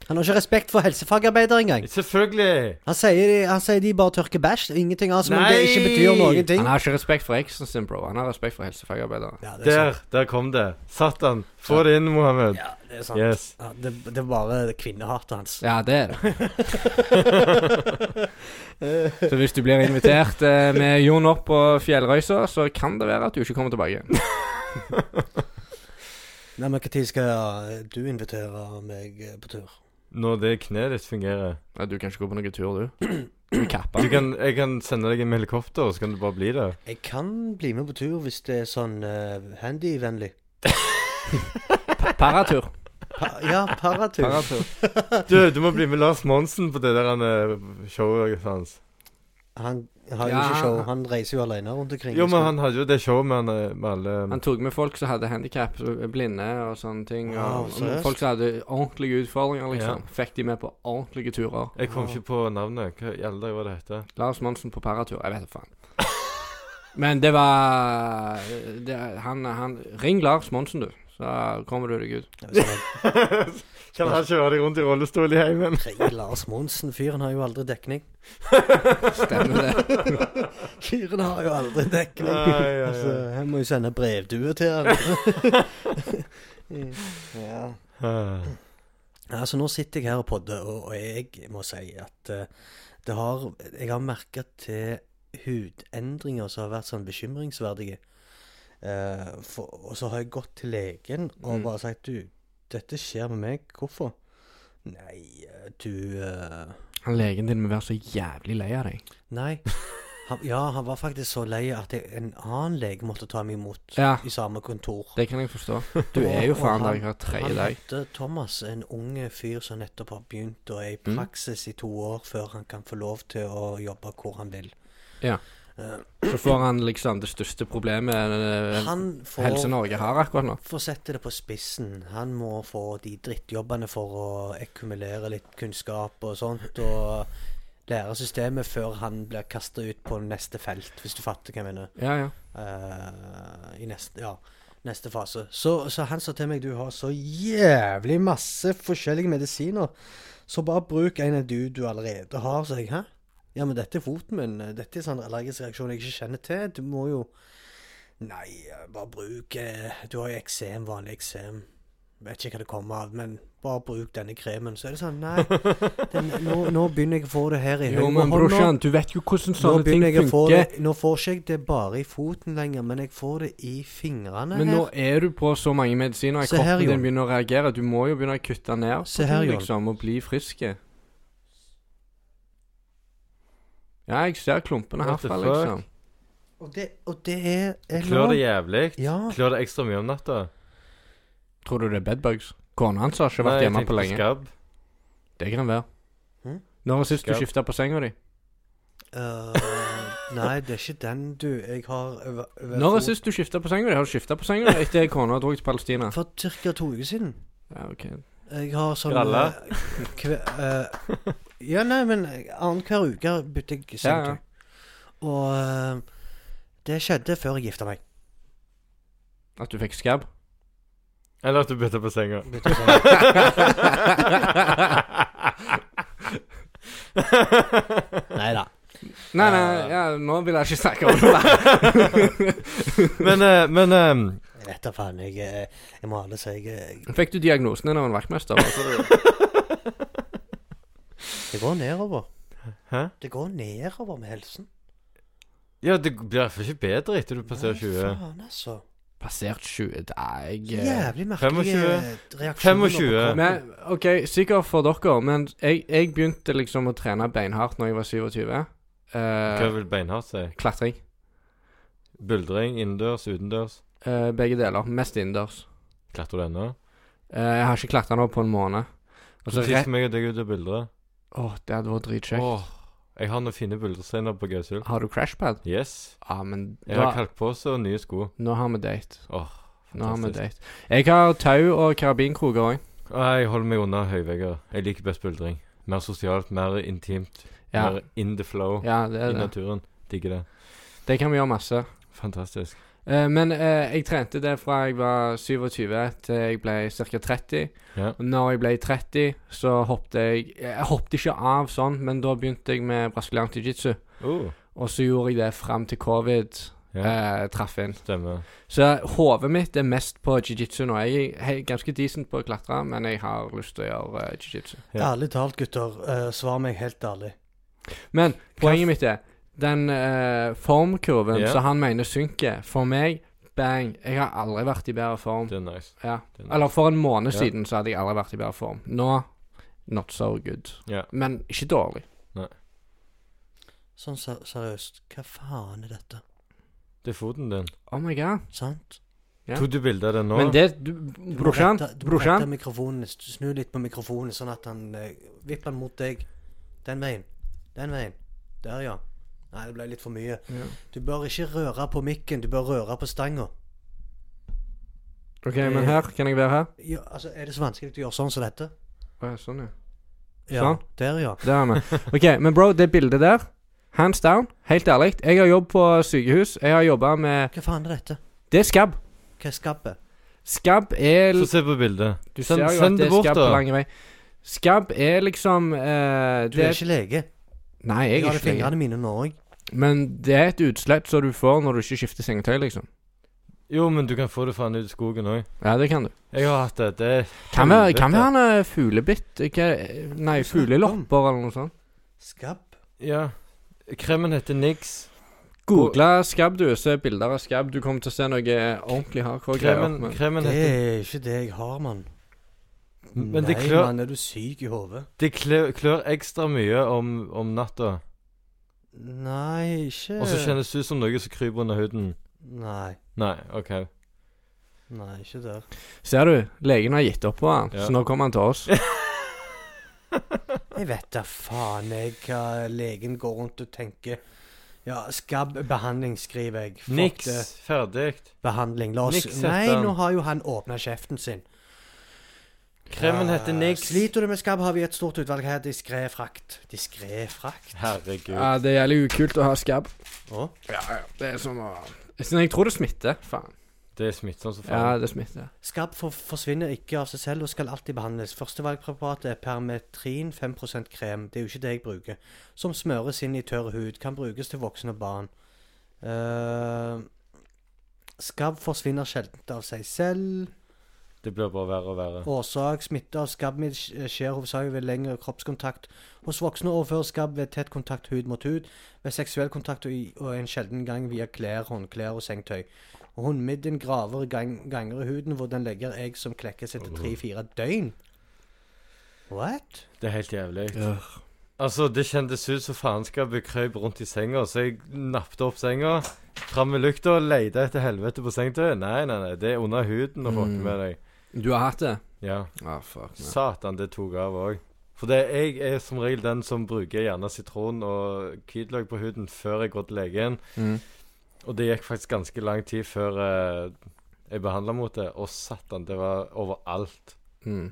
Speaker 1: Han har ikke respekt for helsefagarbeidere engang.
Speaker 3: Selvfølgelig!
Speaker 1: Han sier, de, han sier de bare tørker bæsj, ingenting annet som om det
Speaker 3: Nei!
Speaker 1: ikke betyr noen ting.
Speaker 2: Han har ikke respekt for eksen sin, bro. Han har respekt for helsefagarbeidere.
Speaker 1: Ja, det er sant.
Speaker 3: Der, der kom det. Satan. Få det inn, Mohammed.
Speaker 1: Ja, det er sant.
Speaker 3: Yes.
Speaker 1: Ja, det, det er bare det kvinnehatet hans.
Speaker 2: Ja, det er det. så hvis du blir invitert eh, med Jon opp på fjellrøysa, så kan det være at du ikke kommer tilbake.
Speaker 1: Nei, men Når skal du invitere meg eh, på tur?
Speaker 3: Når det kneet ditt fungerer.
Speaker 2: Nei, du kan ikke gå på noen tur, du. Du er kappa.
Speaker 3: Du kan, jeg kan sende deg med helikopter, så kan du bare bli der.
Speaker 1: Jeg kan bli med på tur hvis det er sånn eh, handy-vennlig.
Speaker 2: Paratur.
Speaker 1: Pa ja, paratur.
Speaker 2: Paratur.
Speaker 3: Du, du må bli med Lars Monsen på det der han, eh, showet hans.
Speaker 1: Han har jo
Speaker 2: Ja.
Speaker 1: ikke show, han reiser jo alene rundt omkring.
Speaker 3: Jo, men han hadde jo det showet med, han, eh, med alle
Speaker 2: Han tok med folk som hadde handikap, blinde og sånne ting.
Speaker 1: Wow,
Speaker 2: Og,
Speaker 1: seriøst?
Speaker 2: folk som hadde ordentlige utfordringer, liksom. Fikk de med på ordentlige turer.
Speaker 3: Jeg kom ikke på navnet. Hva i alle dager var det hette?
Speaker 2: Lars Monsen på paratur. Jeg vet da faen. Men det var det, han, han Ring Lars Monsen, du. Så kommer du deg ut.
Speaker 3: Kan han kjøre deg rundt i rullestol i heimen?
Speaker 1: Ring Lars Monsen. Fyren har jo aldri dekning.
Speaker 2: Stemmer det.
Speaker 1: Fyren har jo aldri dekning.
Speaker 3: Ai, ai, ai.
Speaker 1: altså, jeg må jo sende brevdue til han. ja.
Speaker 3: Ah.
Speaker 1: Altså, nå sitter jeg her og podder, og, og jeg må si at eh, det har Jeg har merka til hudendringer som har vært sånn bekymringsverdige. Eh, for, og så har jeg gått til legen og
Speaker 2: Mm.
Speaker 1: bare sagt Du, dette skjer med meg. Hvorfor? Nei, eh, du eh,
Speaker 2: Han legen din må være så jævlig lei av deg.
Speaker 1: Nei. Han, ja, han var faktisk så lei at jeg, en annen lege måtte ta meg imot
Speaker 2: Ja.
Speaker 1: i samme kontor.
Speaker 2: Det kan jeg forstå. Du er jo
Speaker 1: Og- og
Speaker 2: faen
Speaker 1: han-
Speaker 2: der hver tredje
Speaker 1: Han
Speaker 2: dag.
Speaker 1: heter Thomas, en ung fyr som nettopp har begynt og er i
Speaker 2: Mm.
Speaker 1: praksis i to år før han kan få lov til å jobbe hvor han vil.
Speaker 2: Ja.
Speaker 1: Eh,
Speaker 2: Så får han liksom det største problemet eh,
Speaker 1: han
Speaker 2: Helse
Speaker 1: får
Speaker 2: Norge har akkurat nå.
Speaker 1: for å sette det på spissen. Han må få de drittjobbene for å akkumulere litt kunnskap og sånt. Og lære systemet før han blir kasta ut på neste felt, hvis du fatter hva jeg mener.
Speaker 2: Ja, ja.
Speaker 1: Eh, I neste Ja, neste fase. Så, så han sa til meg du har så jævlig masse forskjellige medisiner, så bare bruk en av du du allerede har, sa jeg. Hæ? Ja, men dette er foten min. Dette er sånn allergisk reaksjon jeg ikke kjenner til. Du må jo Nei, eh, bare bruk eh, Du har jo eksem, vanlig eksem. Vet ikke hva det kommer av, men bare bruk denne kremen. Så er det sånn, nei den, nå, nå begynner jeg å få det her i
Speaker 2: Jo,
Speaker 1: høyre
Speaker 2: men
Speaker 1: hånd nå.
Speaker 2: brorsan, du vet jo hvordan
Speaker 1: Nå
Speaker 2: sånne ting
Speaker 1: begynner jeg å få det
Speaker 2: funker.
Speaker 1: Nå får ikke jeg det bare i foten lenger, men jeg får det i fingrene
Speaker 2: Men
Speaker 1: her.
Speaker 2: nå er du på så mange medisiner at
Speaker 1: Se her,
Speaker 2: kroppen
Speaker 1: Jon.
Speaker 2: din begynner å reagere. Du må jo begynne å kutte ned på
Speaker 1: Se her,
Speaker 2: ting,
Speaker 1: Jon.
Speaker 2: liksom, og bli frisk. Ja, jeg ser klumpene
Speaker 3: What the
Speaker 2: herfra,
Speaker 3: fuck?
Speaker 2: liksom.
Speaker 1: Og, det, og det er, er
Speaker 3: Klør det
Speaker 1: lov.
Speaker 3: jævlig?
Speaker 1: Ja.
Speaker 3: Klør det ekstra mye om natta?
Speaker 2: Tror du det er bedbugs? Kona hans har ikke vært
Speaker 3: Nei, jeg
Speaker 2: hjemme på
Speaker 3: tenkte
Speaker 2: lenge.
Speaker 3: Skabb.
Speaker 2: Det kan være.
Speaker 1: Hm?
Speaker 2: Når var sist du
Speaker 3: Skabb.
Speaker 2: skifta på senga di?
Speaker 1: Øh, nei, det er ikke den, du. Jeg har over, over
Speaker 2: Når
Speaker 1: fot-
Speaker 2: var sist du skifta på senga di? Har du skifta på senga di etter kona dro til Palestina?
Speaker 1: For ca. to uker siden.
Speaker 2: Ja, ok.
Speaker 1: Jeg har sånn
Speaker 3: Gralle?
Speaker 1: eh, kve, eh, Ja, nei, men eh, annenhver uke bytter jeg sengetøy.
Speaker 2: Ja, ja.
Speaker 1: Og eh, det skjedde før jeg gifta meg.
Speaker 2: At du fikk skabb?
Speaker 3: Eller at du bytter på senga.
Speaker 1: Bytte seng. nei da.
Speaker 2: Nei, nei, ja, nå vil jeg ikke snakke om det.
Speaker 3: men eh, men eh,
Speaker 1: Jeg vet da faen. Jeg, eh, jeg må alle si jeg, eh, jeg,
Speaker 2: Fikk du diagnosen din av en vaktmester? Altså,
Speaker 1: det går nedover.
Speaker 3: Hæ?
Speaker 1: Det går nedover med helsen.
Speaker 3: Ja, det blir i hvert fall ikke bedre etter du passerer
Speaker 1: Nei,
Speaker 3: 20.
Speaker 1: faen, altså.
Speaker 2: Passert 20 dag
Speaker 1: Jævlig eh, merkelige
Speaker 3: 25.
Speaker 1: reaksjoner.
Speaker 3: 25.
Speaker 1: på kroppen.
Speaker 2: Men OK, sikkert for dere, men jeg, jeg begynte liksom å trene beinhardt når jeg var 27.
Speaker 3: Hva
Speaker 2: Eh,
Speaker 3: vil beinhardt si?
Speaker 2: klatring.
Speaker 3: Buldring innendørs, utendørs?
Speaker 2: Eh, begge deler. Mest innendørs.
Speaker 3: Klatrer du ennå?
Speaker 2: Eh, jeg har ikke klatra nå på en måned. Og så
Speaker 3: Sist
Speaker 2: rett Å,
Speaker 3: meg og deg ut og buldre.
Speaker 2: det hadde vært dritkjekt.
Speaker 3: Åh, jeg har noen fine buldrescener på Gausul.
Speaker 2: Har du crashpad?
Speaker 3: Yes.
Speaker 2: Ja, men
Speaker 3: Jeg har
Speaker 2: da,
Speaker 3: kalkpose og nye sko.
Speaker 2: nå har vi date.
Speaker 3: Åh,
Speaker 2: Nå har vi
Speaker 3: fantastisk.
Speaker 2: date. Jeg har tau og karabinkroker òg.
Speaker 3: Nei, Jeg holder meg unna høyvegger. Jeg liker best buldring. Mer sosialt, mer intimt.
Speaker 2: Ja.
Speaker 3: Mer in the flow.
Speaker 2: ja, det
Speaker 3: I
Speaker 2: er det.
Speaker 3: naturen. Digger det.
Speaker 2: Det kan vi gjøre masse.
Speaker 3: Fantastisk.
Speaker 2: Eh, men eh, jeg trente det fra jeg var 27 til jeg ble ca. 30.
Speaker 3: Ja.
Speaker 2: Og Når jeg ble 30, så hoppet jeg Jeg hoppet ikke av sånn, men da begynte jeg med brasiliansk jiu-jitsu.
Speaker 3: Oh,
Speaker 2: Og så gjorde jeg det fram til covid
Speaker 3: ja,
Speaker 2: eh, traff inn.
Speaker 3: stemmer.
Speaker 2: Så hodet mitt er mest på jiu-jitsu nå. Jeg er he- ganske decent på å klatre, men jeg har lyst til å gjøre eh, jiu-jitsu.
Speaker 3: Ja.
Speaker 1: Ærlig talt, gutter. eh, svar meg helt ærlig.
Speaker 2: Men poenget mitt er den eh, formkurven
Speaker 3: Ja.
Speaker 2: som han mener synker, for meg bang. Jeg har aldri vært i bedre form.
Speaker 3: Det er nice.
Speaker 2: Ja.
Speaker 3: Det er nice.
Speaker 2: Eller for en måned
Speaker 3: Ja.
Speaker 2: siden så hadde jeg aldri vært i bedre form. Nå not so good.
Speaker 3: Ja.
Speaker 2: Men ikke dårlig.
Speaker 1: Sånn ser seriøst, hva faen er dette?
Speaker 3: Det er foten din.
Speaker 2: Oh my god.
Speaker 1: Sant?
Speaker 2: Ja.
Speaker 3: Tok du bilde av den nå?
Speaker 2: Men det du,
Speaker 1: Du må
Speaker 2: Brorsan,
Speaker 1: rette- du må rette
Speaker 2: brorsan,
Speaker 1: mikrofonen, s- Snu litt på mikrofonen, sånn at han eh, vipper den mot deg. Den veien. Den veien. Der, ja. Nei, det ble litt for mye.
Speaker 2: Ja.
Speaker 1: Du bør ikke røre på mikken, du bør røre på stanga.
Speaker 2: OK, men her kan jeg være her?
Speaker 1: Ja, altså, er det så vanskelig å gjøre sånn som dette?
Speaker 2: Å, ja, sånn, ja.
Speaker 1: Ja.
Speaker 2: Sånn?
Speaker 1: Der, ja.
Speaker 2: Der er vi. OK, men bro, det bildet der, hands down, helt ærlig, jeg har jobb på sykehus. Jeg har jobba med
Speaker 1: Hva faen er dette?
Speaker 2: Det er skabb.
Speaker 1: Hva er skabbet?
Speaker 2: Skabb er
Speaker 3: Få se på bildet.
Speaker 2: Du
Speaker 3: send-
Speaker 2: ser jo
Speaker 3: send
Speaker 2: at det
Speaker 3: det
Speaker 2: er
Speaker 3: bort,
Speaker 2: skabb
Speaker 3: da.
Speaker 2: på lang vei. Skabb er liksom eh,
Speaker 1: Du
Speaker 2: det,
Speaker 1: er ikke lege.
Speaker 2: Nei, jeg
Speaker 1: Jeg har det i
Speaker 2: er ikke det.
Speaker 1: fingrene mine nå òg.
Speaker 2: Men det er et utslett som du får når du ikke skifter sengetøy, liksom.
Speaker 3: Jo, men du kan få det faen ut i skogen òg.
Speaker 2: Ja, det kan du.
Speaker 3: Jeg har hatt det. Det er
Speaker 2: Kan være,
Speaker 3: helvete.
Speaker 2: kan være han er fuglebitt Hva- Nei, fuglelopper eller noe sånt.
Speaker 1: Skabb?
Speaker 3: Ja. Kremen heter Nix.
Speaker 2: Google skabb, du. Se bilder av skabb. Du kommer til å se noe ordentlig hardcore greier.
Speaker 3: Kremen,
Speaker 2: Men
Speaker 3: kremen
Speaker 1: Det
Speaker 3: heter
Speaker 1: er ikke det jeg har, mann.
Speaker 3: Men det
Speaker 1: Nei,
Speaker 3: klør,
Speaker 1: mann, er du syk i hodet?
Speaker 3: det klør, klør ekstra mye om, om natta.
Speaker 1: Nei, ikke
Speaker 3: Og så kjennes det ut som noe som kryper under huden.
Speaker 1: Nei.
Speaker 3: Nei, OK.
Speaker 1: Nei, ikke der.
Speaker 2: ser du, legen har gitt opp på han,
Speaker 3: Ja.
Speaker 2: så nå kommer han til oss.
Speaker 1: Jeg vet da faen jeg hva legen går rundt og tenker. Ja, skabb-behandling, skriver jeg. Fuck
Speaker 3: Niks.
Speaker 1: det.
Speaker 3: Ferdig.
Speaker 1: Behandling. La oss
Speaker 3: Niks, heter
Speaker 1: Nei,
Speaker 3: han.
Speaker 1: nå har jo han åpna kjeften sin.
Speaker 3: Kremen heter Nix.
Speaker 1: Sliter du med skabb, har vi et stort utvalg her. Diskré frakt. Diskré frakt?
Speaker 3: Herregud.
Speaker 2: Ja, det er jævlig ukult å ha skabb.
Speaker 3: Å?
Speaker 2: Ja, ja. Det er sånn å Så Jeg tror det smitter. Faen.
Speaker 3: Det er smittsomt som
Speaker 2: Ja,
Speaker 3: faen.
Speaker 2: det smitter.
Speaker 1: Skabb for, forsvinner ikke av seg selv og skal alltid behandles. Førstevalgpreparatet er permetrin 5 krem. Det er jo ikke det jeg bruker. Som smøres inn i tørr hud. Kan brukes til voksne og barn. Eh, skabb forsvinner sjelden av seg selv.
Speaker 3: Det blir bare verre og verre.
Speaker 1: Årsak smitte av skabbmidd eh, skjer hovedsakelig ved lengre kroppskontakt. Hos voksne overføres skabb ved tett kontakt hud mot hud, ved seksuell kontakt og, i, og en sjelden gang via klær, håndklær og sengetøy. Og Håndmidden graver gang, ganger i huden, hvor den legger egg som klekkes etter tre-fire døgn. What?
Speaker 3: Det er helt jævlig. Altså, det kjentes ut som faenskapet krøp rundt i senga, så jeg nappte opp senga, fram med lykta og leide etter helvete på sengetøyet. Nei, nei, nei, det er under huden å fucke med deg.
Speaker 2: Du har hatt det?
Speaker 3: Ja.
Speaker 2: Ja, fuck. man.
Speaker 3: Satan, det tok av òg. For det, jeg er som regel den som bruker gjerne sitron og hvitløk på huden før jeg går til legen.
Speaker 2: Mm.
Speaker 3: Og det gikk faktisk ganske lang tid før eh, jeg behandla mot det. Og satan, det var overalt.
Speaker 2: Mm.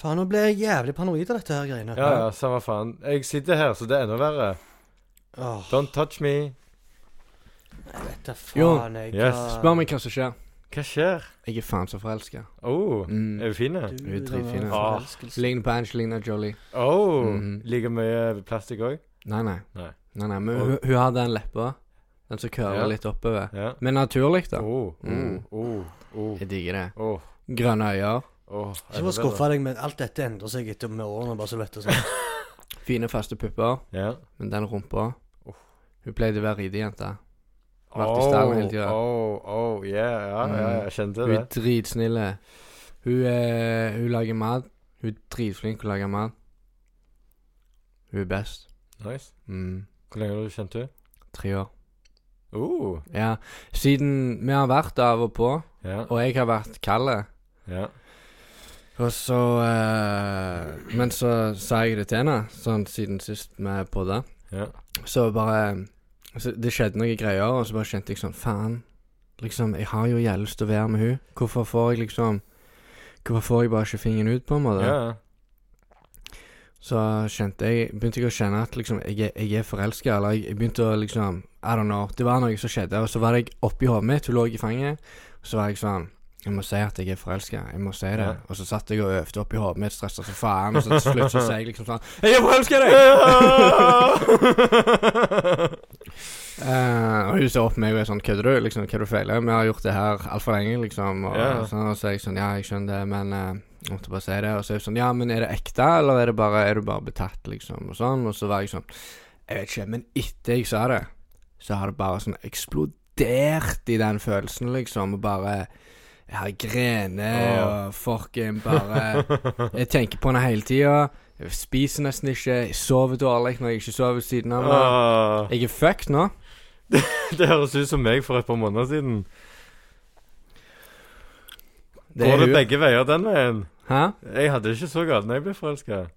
Speaker 1: Faen, nå ble jeg jævlig paranoid av dette her greiene.
Speaker 3: Ja, ja, samme faen. Jeg sitter her, så det er enda verre.
Speaker 1: Åh,
Speaker 3: Don't touch me.
Speaker 1: dette
Speaker 2: Jon,
Speaker 1: faen jeg
Speaker 3: yes,
Speaker 1: har-
Speaker 2: Spør meg hva som skjer.
Speaker 3: Hva skjer?
Speaker 2: Jeg er faen så forelska.
Speaker 3: Oh,
Speaker 2: Mm.
Speaker 3: er vi fine?
Speaker 1: Du,
Speaker 2: Vi er
Speaker 1: det
Speaker 2: dritfine.
Speaker 1: var en
Speaker 3: Ah.
Speaker 1: forelskelse.
Speaker 2: Ligner på Angelina Jolie.
Speaker 3: Oh,
Speaker 2: Mhm.
Speaker 3: Like mye plastikk òg?
Speaker 2: Nei, nei.
Speaker 3: Nei.
Speaker 2: Nei, nei, Men
Speaker 3: Og-
Speaker 2: hun, hun har den leppa. Den som curler
Speaker 3: Ja.
Speaker 2: litt oppover.
Speaker 3: Ja.
Speaker 2: Men naturlig, da.
Speaker 3: Oh, oh,
Speaker 2: Mm.
Speaker 3: oh, oh,
Speaker 2: Jeg digger det.
Speaker 3: oh,
Speaker 2: Grønne øyne,
Speaker 3: oh.
Speaker 1: Ikke for å skuffe deg, men alt dette endrer seg etter med årene, bare så du vet det. sånn.
Speaker 2: fine faste pupper,
Speaker 3: Ja.
Speaker 2: men den rumpa
Speaker 3: Uff.
Speaker 2: Hun pleide å være ridejente. Vært i stallen hele Mm. tida.
Speaker 3: Oh, oh, yeah, ja, ja, jeg kjente
Speaker 2: Hun
Speaker 3: det.
Speaker 2: er dritsnille. Hun, eh, hun lager mat. Hun er dritflink til å lage mat. Hun er best.
Speaker 3: Nice.
Speaker 2: Mm.
Speaker 3: Hvor lenge har du kjent henne?
Speaker 2: Tre år.
Speaker 3: Oh,
Speaker 2: Ja. Siden vi har vært av og på,
Speaker 3: ja,
Speaker 2: og jeg har vært kald
Speaker 3: ja.
Speaker 2: Og så eh, Men så sa jeg det til henne, sånn siden sist vi podda.
Speaker 3: ja.
Speaker 2: Så bare så Det skjedde noen greier, og så bare kjente jeg sånn Faen. Liksom, jeg har jo jævlig lyst til å være med hun Hvorfor får jeg liksom Hvorfor får jeg bare ikke fingeren ut, på en måte?
Speaker 3: ja.
Speaker 2: Så kjente jeg Begynte jeg å kjenne at liksom Jeg er, jeg er forelska, eller jeg, jeg begynte å liksom I don't know. Det var noe som skjedde, og så var jeg oppi hodet mitt, hun lå i fanget, og så var jeg sånn jeg må si at jeg er forelska. Jeg må si det.
Speaker 3: Ja.
Speaker 2: Og så satt jeg og øvde oppi hodet mitt, stressa som faen, og så til slutt så sa jeg liksom sånn Jeg er forelska i deg! Eh, og hun ser opp på meg og er sånn Kødder du? Liksom, hva er det du feiler? Vi har gjort det her altfor lenge, liksom. Og,
Speaker 3: Ja.
Speaker 2: sånn, og så er jeg sånn Ja, jeg skjønner det, men eh, jeg måtte bare si det. Og så er hun sånn Ja, men er det ekte, eller er, det bare, er du bare betatt, liksom? Og sånn. Og så var jeg sånn Jeg vet ikke, men etter jeg sa det, så har det bare sånn eksplodert i den følelsen, liksom. Og bare Jeg har grener,
Speaker 3: Åh.
Speaker 2: og fucking bare Jeg tenker på henne hele tida. Jeg spiser nesten ikke. Jeg sover dårlig når jeg ikke sover ved siden av henne.
Speaker 3: Ah,
Speaker 2: Jeg er fucked nå.
Speaker 3: det høres ut som meg for et par måneder siden.
Speaker 2: er
Speaker 3: Går det
Speaker 2: hun.
Speaker 3: begge veier den veien?
Speaker 2: Hæ?
Speaker 3: Jeg hadde det ikke så galt når jeg ble forelska.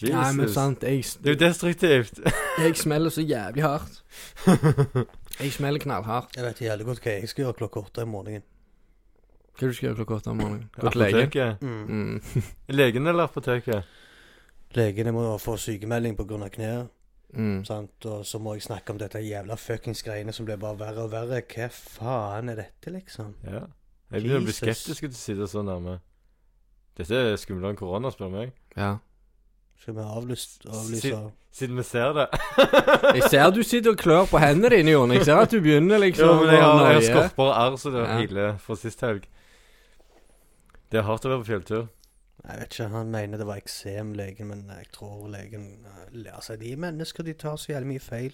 Speaker 3: Jesus.
Speaker 2: Nei, men sant, jeg,
Speaker 3: Det er jo destruktivt.
Speaker 2: jeg smeller så jævlig hardt. Jeg smeller knallhardt.
Speaker 1: Jeg vet jævlig godt hva jeg skal gjøre klokka åtte i morgenen.
Speaker 2: Hva er det du skal gjøre klokka åtte om morgenen? Gå til legen?
Speaker 3: Apoteket.
Speaker 1: Mm.
Speaker 2: Mm.
Speaker 3: Legen eller apoteket?
Speaker 1: Legene må få sykemelding pga. kneet.
Speaker 2: Mm.
Speaker 1: Sant? Og så må jeg snakke om dette jævla fuckings greiene som blir bare verre og verre. Hva faen er dette, liksom?
Speaker 3: Ja. Jeg begynner å bli
Speaker 1: Jesus.
Speaker 3: skeptisk til å sitte så nærme. Dette er skumlere enn korona, spør du meg.
Speaker 2: Ja.
Speaker 1: Skal vi avlyse,
Speaker 3: Si-
Speaker 1: avlyse?
Speaker 3: Siden vi ser det.
Speaker 2: Jeg ser du sitter og klør på hendene dine, Jon. Jeg ser at du begynner liksom
Speaker 3: Jo, men jeg har,
Speaker 2: å
Speaker 3: jeg har
Speaker 2: nøye.
Speaker 3: skorper og arr, så det
Speaker 2: Ja.
Speaker 3: healer fra sist helg. Det er hardt å være på fjelltur.
Speaker 1: Jeg vet ikke, han mener det var eksemlegen, men jeg tror legen Altså, de er mennesker, de tar så jævlig mye feil.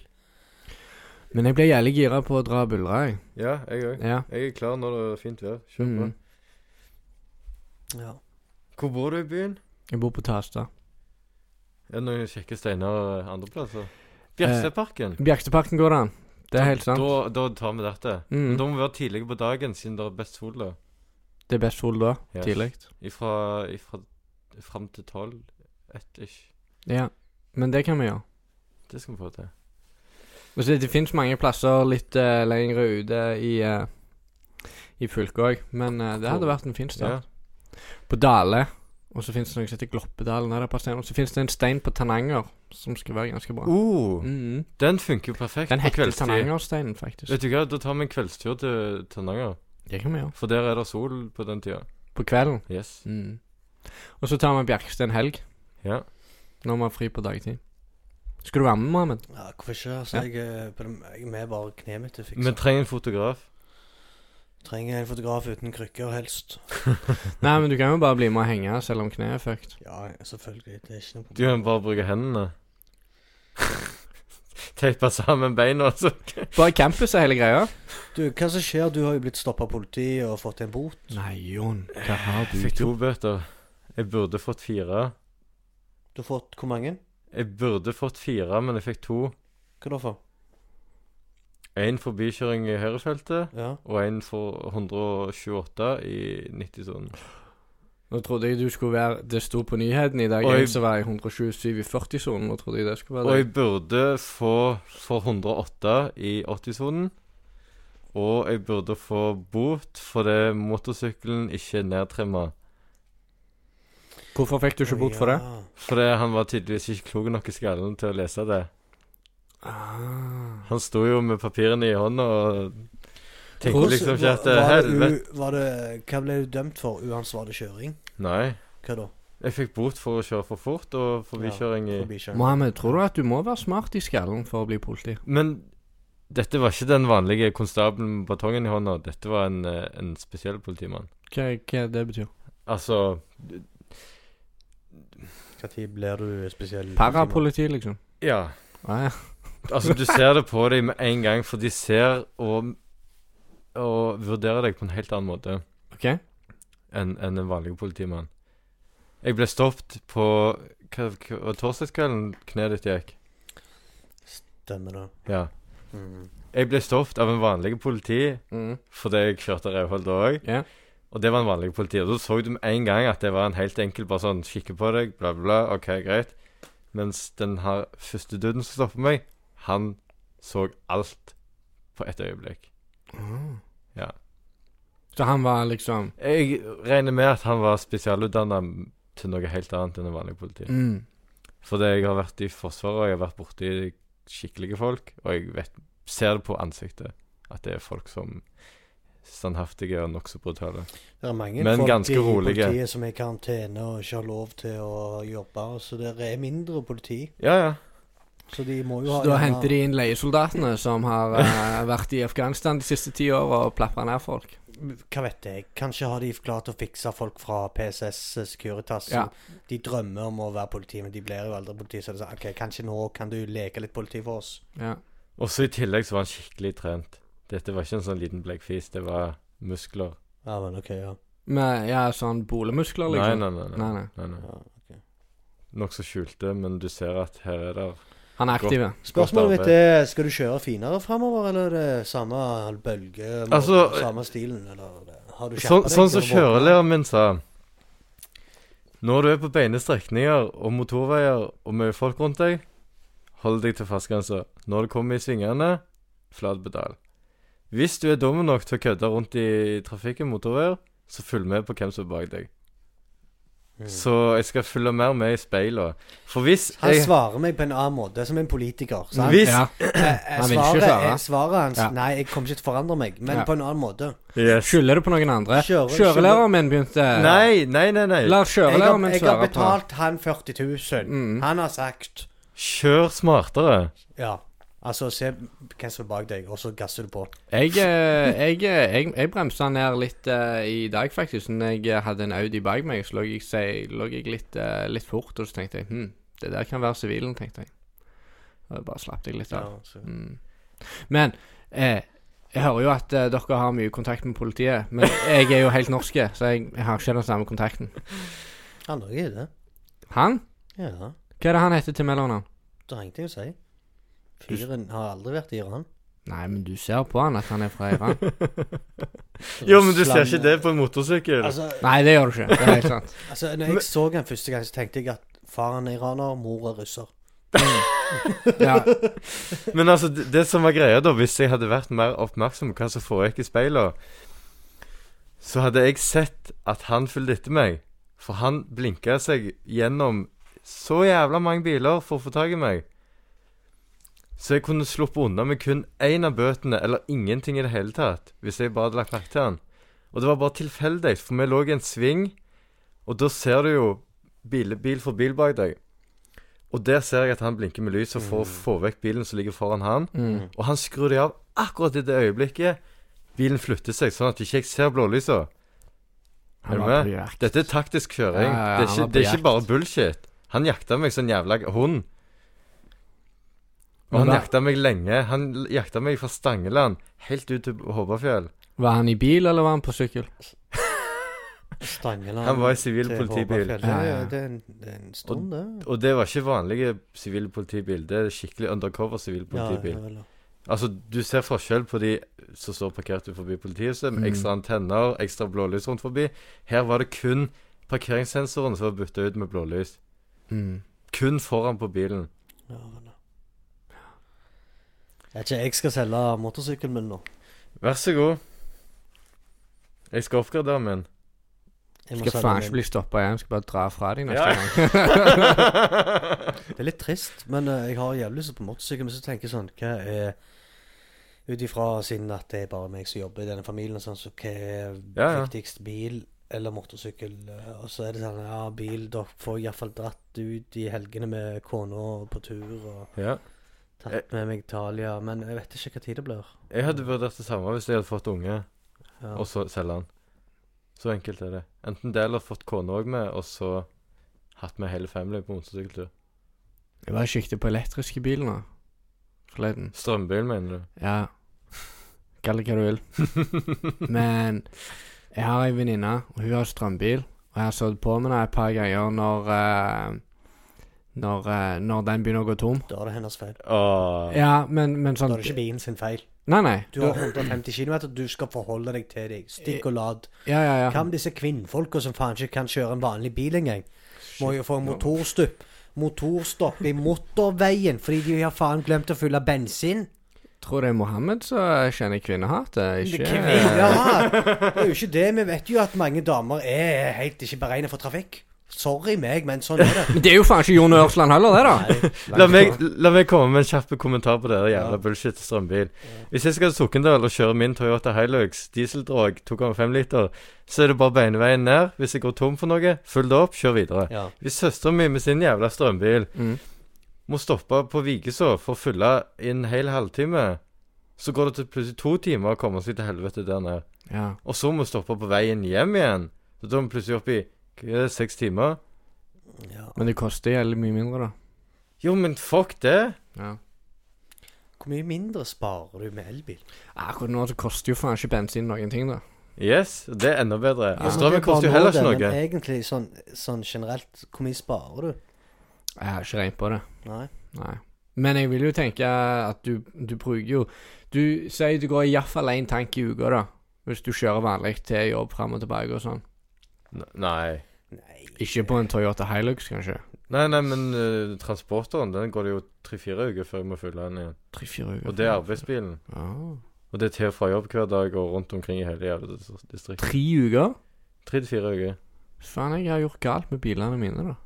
Speaker 2: Men jeg blir jævlig gira på å dra og buldre, jeg.
Speaker 3: Ja, jeg òg.
Speaker 2: Ja.
Speaker 3: Jeg er klar når det er fint vær. Kjør på.
Speaker 2: Mm.
Speaker 1: Ja.
Speaker 3: Hvor bor du i byen?
Speaker 2: Jeg bor på Tasta.
Speaker 3: Er det noen kjekke steiner eh, andre plasser? Bjerseparken.
Speaker 2: Bjerketeparken går det an. Det er helt Eh, sant.
Speaker 3: Da, da tar vi dette. Men
Speaker 2: Mm.
Speaker 3: Da må vi være tidlige på dagen, siden det er best sol da.
Speaker 2: Det er best sol da.
Speaker 3: Yes.
Speaker 2: Tidlig.
Speaker 3: Ifra, ifra fram til tolv. Ett ish.
Speaker 2: Ja. Men det kan vi gjøre.
Speaker 3: Det skal vi få til.
Speaker 2: Og så det finnes mange plasser litt eh, lengre ute i, eh, i fylket òg, men eh, det hadde vært en fin start.
Speaker 3: Ja.
Speaker 2: på Dale. Og så fins det noe som heter Gloppedalen. er det på stein, Og så fins det en stein på Tananger som skal være ganske bra.
Speaker 3: Uh,
Speaker 2: Mhm.
Speaker 3: den funker jo perfekt
Speaker 2: Den
Speaker 3: på
Speaker 2: heter
Speaker 3: kveldstid.
Speaker 2: Tanangersteinen, faktisk.
Speaker 3: Vet du hva, da tar vi en kveldstur til Tananger.
Speaker 2: Det kan vi gjøre.
Speaker 3: For der er det sol på den tida.
Speaker 2: På kvelden.
Speaker 3: Yes.
Speaker 2: Mhm. Og så tar vi Bjerkstein helg,
Speaker 3: Ja.
Speaker 2: når vi har fri på dagtid. Skal du være med, Mohammed?
Speaker 1: Ja, hvorfor ikke? Altså,
Speaker 2: Ja.
Speaker 1: jeg, eh, på dem- jeg er med bare kneet mitt til å fikse.
Speaker 3: Vi trenger en fotograf.
Speaker 1: Trenger en fotograf uten krykker, helst.
Speaker 2: Nei, men du kan jo bare bli med og henge, selv om kneet er fucked.
Speaker 1: Ja, selvfølgelig. Det er ikke noe
Speaker 3: Du
Speaker 1: problem.
Speaker 3: kan bare bruke hendene. Teipe sammen beina, altså.
Speaker 2: Bare campus er hele greia.
Speaker 1: Du, hva som skjer? Du har jo blitt stoppa av politiet og fått en bot.
Speaker 2: Nei, Jon. Hva har du
Speaker 3: Fikk to bøter. Jeg burde fått fire.
Speaker 1: Du har fått hvor mange?
Speaker 3: Jeg burde fått fire, men jeg fikk to.
Speaker 1: Hva da for?
Speaker 3: Én forbikjøring i høyrefeltet
Speaker 1: Ja.
Speaker 3: og én for 128 i 90-sonen.
Speaker 2: Nå trodde jeg du skulle være Det sto på nyheten i dag.
Speaker 3: Oi.
Speaker 2: Jeg som var i 127 i 40-sonen. Nå trodde jeg det skulle
Speaker 3: Og
Speaker 2: være det.
Speaker 3: jeg burde få for 108 i 80-sonen. Og jeg burde få bot fordi motorsykkelen ikke er nedtrimma.
Speaker 2: Hvorfor fikk du ikke bot for det?
Speaker 1: Ja.
Speaker 3: Fordi han var tydeligvis ikke klok nok i skallen til å lese det.
Speaker 2: Ah.
Speaker 3: Han sto jo med papirene i hånda og tenkte
Speaker 2: Hvordan-
Speaker 3: liksom ikke
Speaker 2: eh,
Speaker 3: at
Speaker 1: Var- var det u-
Speaker 3: Helvete.
Speaker 1: var det, Hva ble du dømt for? Uansvarlig kjøring?
Speaker 3: Nei.
Speaker 1: Hva da?
Speaker 3: Jeg fikk bot for å kjøre for fort og forbikjøring i
Speaker 1: Forbikjøring.
Speaker 2: Mohammed, tror du at du må være smart i skallen for å bli politi?
Speaker 3: Men dette var ikke den vanlige konstabelen med batongen i hånda. Dette var en, eh, en spesiell politimann.
Speaker 2: Hva, hva det betyr
Speaker 3: Altså
Speaker 1: Når blir du spesiell?
Speaker 2: Parapoliti, liksom?
Speaker 3: Ja.
Speaker 2: Ah, ja.
Speaker 3: Altså, du ser det på dem med en gang, for de ser og, og vurderer deg på en helt annen måte
Speaker 2: OK?
Speaker 3: enn enn en vanlig politimann. Jeg ble stoppet på hva, hva, torsdagskvelden kneet ditt gikk.
Speaker 1: Stemmer det.
Speaker 3: Ja.
Speaker 1: Mm.
Speaker 3: Jeg ble stoppet av en vanlig politi
Speaker 2: Mm.
Speaker 3: fordi jeg kjørte revhold da òg.
Speaker 2: Ja.
Speaker 3: Og det var en vanlig politi. Og da så du med en gang at det var en helt enkel bare sånn kikke på deg, bla, bla, bla, OK, greit. Mens den her første duden som stoppa meg, han så alt på ett øyeblikk.
Speaker 2: Ah.
Speaker 3: Ja.
Speaker 2: Så han var liksom
Speaker 3: Jeg regner med at han var spesialutdanna til noe helt annet enn en vanlig politi.
Speaker 2: mm.
Speaker 3: Fordi jeg har vært i Forsvaret, og jeg har vært borti skikkelige folk, og jeg vet, ser det på ansiktet at det er folk som standhaftige og nokså brutale.
Speaker 1: Det er mange
Speaker 3: Men
Speaker 1: folk
Speaker 3: ganske
Speaker 1: i
Speaker 3: rolige.
Speaker 1: politiet som er i karantene og ikke har lov til å jobbe. Så det er mindre politi.
Speaker 3: Ja, ja.
Speaker 1: Så de må jo
Speaker 2: Så
Speaker 1: ha
Speaker 2: da henter de inn leiesoldatene som har eh, vært i Afghanistan de siste ti åra og plapra ned folk?
Speaker 1: Hva vet jeg. Kanskje har de klart å fikse folk fra PSS Securitas.
Speaker 2: Ja.
Speaker 1: som De drømmer om å være politi, men de blir jo aldri politi. Så det er sånn, ok, kanskje nå kan du leke litt politi for oss.
Speaker 2: Ja.
Speaker 3: Og så i tillegg så var han skikkelig trent. Dette var ikke en sånn liten blekkfis, det var muskler.
Speaker 1: Ja, men ok, ja.
Speaker 2: Med ja, sånn bolemuskler,
Speaker 3: Nei,
Speaker 2: liksom?
Speaker 3: nei, nei. nei.
Speaker 2: Nei, nei.
Speaker 3: nei, nei.
Speaker 1: ja.
Speaker 3: Nokså skjulte, men du ser at her er det
Speaker 2: Han er aktiv. ja.
Speaker 1: Spørsmålet
Speaker 3: Godt
Speaker 1: mitt er skal du kjøre finere framover, eller er det samme bølge, måten,
Speaker 2: eh,
Speaker 3: Altså,
Speaker 1: samme stilen? Eller er det- har du
Speaker 3: Sånn
Speaker 1: skjerpet
Speaker 3: sånn som
Speaker 1: til å våkne?
Speaker 3: kjørelæreren min sa Når du er på beine strekninger og motorveier og mye folk rundt deg, hold deg til fastgrensa. Når du kommer i svingene, flat pedal. Hvis du er dum nok til å kødde rundt i trafikken motorveier, så følg med på hvem som er bak deg.
Speaker 1: Mm.
Speaker 3: Så jeg skal følge mer med i speilene. For hvis
Speaker 1: Han
Speaker 3: jeg
Speaker 1: svarer meg på en annen måte, som en politiker. Sant?
Speaker 3: Hvis
Speaker 2: Ja.
Speaker 1: Eh, eh,
Speaker 2: Han vil ikke
Speaker 1: svaret,
Speaker 2: svare.
Speaker 1: eh, svaret hans
Speaker 2: Ja.
Speaker 1: Nei, jeg kommer ikke til å forandre meg, men
Speaker 2: Ja.
Speaker 1: på en annen måte.
Speaker 3: Yes.
Speaker 2: Skylder du på noen andre?
Speaker 1: Kjøre-
Speaker 2: Kjørelæreren min begynte
Speaker 3: Nei, nei, nei, nei.
Speaker 1: Jeg har,
Speaker 2: La kjørelæreren min
Speaker 1: jeg har
Speaker 2: svare på
Speaker 1: betalt han 40 000.
Speaker 2: Mm.
Speaker 1: Han har sagt
Speaker 3: Kjør smartere.
Speaker 1: Ja. Altså, se hvem som er bak deg, og så gasser du på.
Speaker 2: Jeg, eh, jeg, eh, jeg, jeg bremsa ned litt eh, i dag, faktisk. Når jeg eh, hadde en Audi bak meg, så lå jeg, seg- lå jeg litt, eh, litt fort. Og så tenkte jeg hm, det der kan være sivilen, tenkte jeg. Og bare slapp jeg litt av.
Speaker 1: Ja, så-
Speaker 2: Mm. Men eh, jeg hører jo at eh, dere har mye kontakt med politiet. Men jeg er jo helt norske, så jeg, jeg har ikke den samme kontakten.
Speaker 1: Han òg er det.
Speaker 2: Han?
Speaker 1: Ja.
Speaker 2: Hva er det han heter til mellomnavn?
Speaker 1: Det trengte jeg å si. Fyren har aldri vært i Iran.
Speaker 2: Nei, men du ser på han at han er fra Iran.
Speaker 3: Jo, men du ser ikke
Speaker 1: Russland-
Speaker 3: det på en motorsykkel.
Speaker 1: Altså,
Speaker 2: Nei, det gjør du ikke. Det er helt sant.
Speaker 1: altså, når jeg så han første gang, så tenkte jeg at faren er iraner, mor er russer.
Speaker 2: Mm. Ja.
Speaker 3: Men altså, det, det som var greia da, hvis jeg hadde vært mer oppmerksom på hva som foregikk i speilene, så hadde jeg sett at han fulgte etter meg. For han blinka seg gjennom så jævla mange biler for å få tak i meg. Så jeg kunne sluppet unna med kun én av bøtene, eller ingenting i det hele tatt, hvis jeg bare hadde lagt merke til han. Og det var bare tilfeldig, for vi lå i en sving, og da ser du jo bil, bil for bil bak deg. Og der ser jeg at han blinker med lyset for å få vekk bilen som ligger foran han.
Speaker 2: Mm.
Speaker 3: Og han skrur det av akkurat i det øyeblikket bilen flytter seg, sånn at ikke jeg ser blålysa. Er du med? Dette er taktisk kjøring.
Speaker 2: Ja, ja, ja,
Speaker 3: det, er ikke,
Speaker 2: han var på
Speaker 3: det er ikke
Speaker 2: jakt.
Speaker 3: bare bullshit. Han jakta meg som en jævla hund. Og
Speaker 2: Men
Speaker 3: han
Speaker 2: da-
Speaker 3: jakta meg lenge. Han l- jakta meg fra Stangeland helt ut til Håvafjell.
Speaker 2: Var han i bil, eller var han på sykkel?
Speaker 1: Stangeland
Speaker 3: Han var i sivil
Speaker 1: til
Speaker 3: politibil.
Speaker 1: Håvardfjell.
Speaker 2: Ja, ja.
Speaker 1: Det, det, er en, det er en stund, det.
Speaker 3: Og det var ikke vanlige sivil politibil. Det er skikkelig undercover sivil politibil.
Speaker 1: vel, ja.
Speaker 3: Altså, du ser forskjell på de som står parkert ut forbi politihuset, med ekstra antenner, ekstra blålys rundt forbi. Her var det kun parkeringssensoren som var bytta ut med blålys.
Speaker 2: Mm.
Speaker 3: Kun foran på bilen.
Speaker 1: Ja, vel, ja. Jeg vet ikke, jeg skal selge motorsykkelen min nå.
Speaker 3: Vær så god. Jeg skal oppgradere min.
Speaker 1: Jeg må
Speaker 2: Skal
Speaker 1: selge
Speaker 2: faen ikke
Speaker 1: min.
Speaker 2: bli stoppa igjen. Skal bare dra fra deg neste
Speaker 3: Ja.
Speaker 2: gang.
Speaker 1: Det er litt trist, men eh, jeg har jævlig lyst på motorsykkel. Men så tenker jeg sånn Hva er Ut ifra siden at det er bare meg som jobber i denne familien, sånn, så hva er
Speaker 3: Ja, ja.
Speaker 1: viktigst? Bil eller motorsykkel? Eh, Og så er det sånn Ja, bil. Dere får iallfall dratt ut i helgene med kona på tur og
Speaker 3: Ja. Eh.
Speaker 1: tatt med meg Italia. Men jeg vet ikke hva tid det blir.
Speaker 3: Jeg hadde vurdert det samme hvis jeg hadde fått unge,
Speaker 1: Ja.
Speaker 3: og så selge den. Så enkelt er det. Enten det eller fått kone òg med, og så hatt med hele family på motorsykkeltur.
Speaker 2: Jeg var i sikte på elektriske biler nå. Forleden.
Speaker 3: Strømbil, mener du?
Speaker 2: Ja. Kall det hva du vil. Men jeg har ei venninne, og hun har strømbil. Og jeg har stått på med henne et par ganger når eh, når, eh, når den begynner å gå tom.
Speaker 1: Da er det hennes feil.
Speaker 3: Åh.
Speaker 2: Ja, men, men
Speaker 1: Da
Speaker 2: sånn
Speaker 1: er det ikke bilen sin feil.
Speaker 2: Nei, nei.
Speaker 1: Du har 150 km, du skal forholde deg til deg.
Speaker 3: Eh.
Speaker 1: Stikk og lad.
Speaker 2: Ja, ja, ja.
Speaker 1: Hva med disse kvinnfolka som faen ikke kan kjøre en vanlig bil engang? Må jo få motorstupp. Motorstopp i motorveien fordi de har faen glemt å fylle bensin.
Speaker 2: Tror det er Mohammed som kjenner kvinnehat. det er Ikke
Speaker 1: Kvinner! Det er jo ikke det. Vi vet jo at mange damer er helt ikke beregna for trafikk. Sorry meg, men sånn er det.
Speaker 2: Men det er jo faen ikke Jon Ørsland heller, det, da.
Speaker 3: La meg, la meg komme med en kjapp kommentar på det der jævla bullshit strømbil. Hvis jeg skal til Sokndal og kjøre min Toyota Hilux dieseldrog 2,5 liter, så er det bare beinveien ned. Hvis jeg går tom for noe, følg det opp, kjør videre.
Speaker 1: Ja.
Speaker 3: Hvis søsteren min med sin jævla strømbil
Speaker 2: Mm.
Speaker 3: må stoppe på Vikeså for å fylle i en hel halvtime, så går det til plutselig to timer å komme seg til helvete der ned.
Speaker 2: Ja.
Speaker 3: Og så må vi stoppe på veien hjem igjen. Så da er vi plutselig oppe i hva er det, seks timer.
Speaker 1: Ja.
Speaker 2: Men det koster jævlig mye mindre, da.
Speaker 3: Jo, men fuck det.
Speaker 2: Ja.
Speaker 1: Hvor mye mindre sparer du med elbil?
Speaker 2: Akkurat nå så koster jo faen ikke bensin noen ting, da.
Speaker 3: Yes, det er enda bedre.
Speaker 1: Ja, men
Speaker 3: Og
Speaker 1: det er
Speaker 3: strømmen
Speaker 1: bare
Speaker 3: koster jo heller ikke
Speaker 1: nåde,
Speaker 3: noe.
Speaker 1: Men egentlig sånn, sånn generelt, hvor mye sparer du?
Speaker 2: Jeg har ikke regnet på det.
Speaker 1: Nei.
Speaker 2: Nei. Men jeg vil jo tenke at du, du bruker jo Du sier du går iallfall én tank i uka, da. Hvis du kjører vanlig til jobb fram og tilbake og sånn.
Speaker 3: N- Nei.
Speaker 1: Nei.
Speaker 2: Ikke på en Toyota Hilux, kanskje.
Speaker 3: Nei, nei, men eh, transporteren, den går det jo tre-fire uker før jeg må fylle den igjen.
Speaker 2: Tre-fire uker.
Speaker 3: Og det er arbeidsbilen.
Speaker 2: Ah.
Speaker 3: Og det er til og fra jobb hver dag og rundt omkring i hele jævla dis- distriktet.
Speaker 2: Tre uker?
Speaker 3: Tre til fire uker.
Speaker 2: Faen, jeg har gjort galt med bilene mine, da.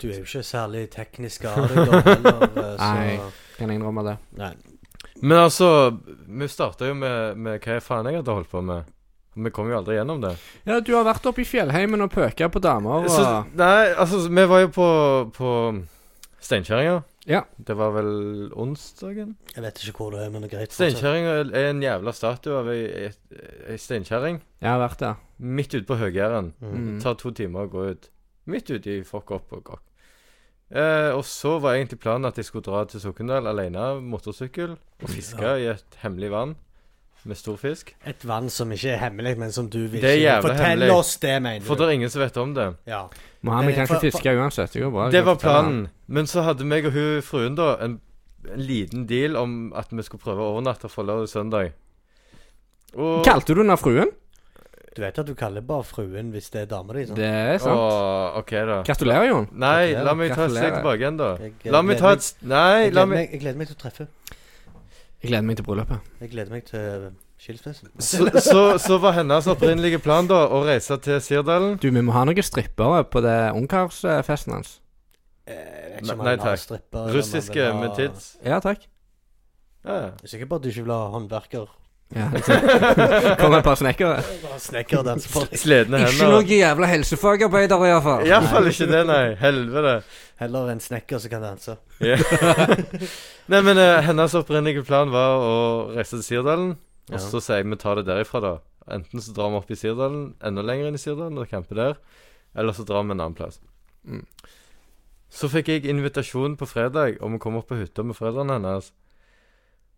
Speaker 1: Du er jo ikke særlig teknisk av deg, da. heller, så-
Speaker 2: Nei. Kan jeg innrømme det.
Speaker 1: Nei.
Speaker 3: Men altså, vi starta jo med, med hva faen jeg hadde holdt på med. Vi kom jo aldri gjennom det.
Speaker 2: Ja, du har vært oppe i fjellheimen og pøka på damer og
Speaker 3: Så, nei, altså, vi var jo på, på Steinkjerringa.
Speaker 2: Ja.
Speaker 3: Det var vel onsdagen?
Speaker 1: Jeg vet ikke hvor det er, men det er greit. fortsatt.
Speaker 3: Steinkjerringa er en jævla statue av ei ei steinkjerring
Speaker 2: Jeg har vært der.
Speaker 3: midt ute på Høgjæren.
Speaker 2: Mm.
Speaker 3: Det tar to timer å gå ut. Midt ute i fuck up og gokk. Eh, og så var egentlig planen at jeg skulle dra til Sokndal alene, motorsykkel, og fiske i et hemmelig vann med stor fisk.
Speaker 1: Et vann som ikke er hemmelig, men som du vil
Speaker 3: Det er
Speaker 1: ikke
Speaker 3: jævla
Speaker 1: Fortell
Speaker 3: hemmelig.
Speaker 1: oss det, mener
Speaker 3: For
Speaker 1: du.
Speaker 3: det er ingen som vet om det.
Speaker 1: Ja.
Speaker 2: Mohammed
Speaker 1: Eh,
Speaker 2: kan ikke
Speaker 1: for-
Speaker 2: fiske uansett. Det går bra.
Speaker 3: Det
Speaker 2: Jeg
Speaker 3: var
Speaker 2: kan fortelle
Speaker 3: planen. Men så hadde meg og hun fruen da en, en liten deal om at vi skulle prøve å overnatte for lørdag og søndag.
Speaker 2: han.
Speaker 3: Og
Speaker 2: Kalte du den av fruen?
Speaker 1: Du vet at du kaller bare fruen hvis det er dama di? sant?
Speaker 2: Det er sant.
Speaker 3: Å, OK, da.
Speaker 2: Gratulerer, Jon.
Speaker 3: Nei, la meg ta et steg
Speaker 2: Gratulerer.
Speaker 3: tilbake igjen, da.
Speaker 1: Jeg, eh,
Speaker 3: La meg
Speaker 1: gleder
Speaker 3: ta et s- Nei,
Speaker 1: jeg
Speaker 3: la
Speaker 1: gleder
Speaker 3: meg
Speaker 1: meg, jeg gleder meg til å treffe henne.
Speaker 2: Jeg gleder meg til bryllupet.
Speaker 1: Jeg gleder meg til eh, Skilsmissen.
Speaker 3: Så, så, så var hennes opprinnelige plan da å reise til Sirdalen.
Speaker 2: Du, vi må ha noen strippere på det ungkarsfesten hans.
Speaker 1: Eh,
Speaker 3: Nei, nei takk. Russiske med tids.
Speaker 2: Ja, takk.
Speaker 3: Ja, ja.
Speaker 1: Jeg er sikker på at du ikke vil ha håndverker.
Speaker 2: Ja, Kom et par snekkere.
Speaker 1: Snekker den som får
Speaker 3: Sledne
Speaker 2: Ikke
Speaker 3: hender.
Speaker 2: noen jævla helsefagarbeidere, iallfall.
Speaker 3: Iallfall ikke det, nei. Helvete.
Speaker 1: Heller en snekker som kan danse.
Speaker 3: Ja. Nei, men eh, hennes opprinnelige plan var å reise til Sirdalen. Og
Speaker 1: Ja.
Speaker 3: så sier jeg vi tar det derifra, da. Enten så drar vi opp i Sirdalen, enda lenger inn i Sirdalen og camper der. Eller så drar vi en annen plass.
Speaker 2: Mm.
Speaker 3: Så fikk jeg invitasjon på fredag om å komme opp på hytta med foreldrene hennes.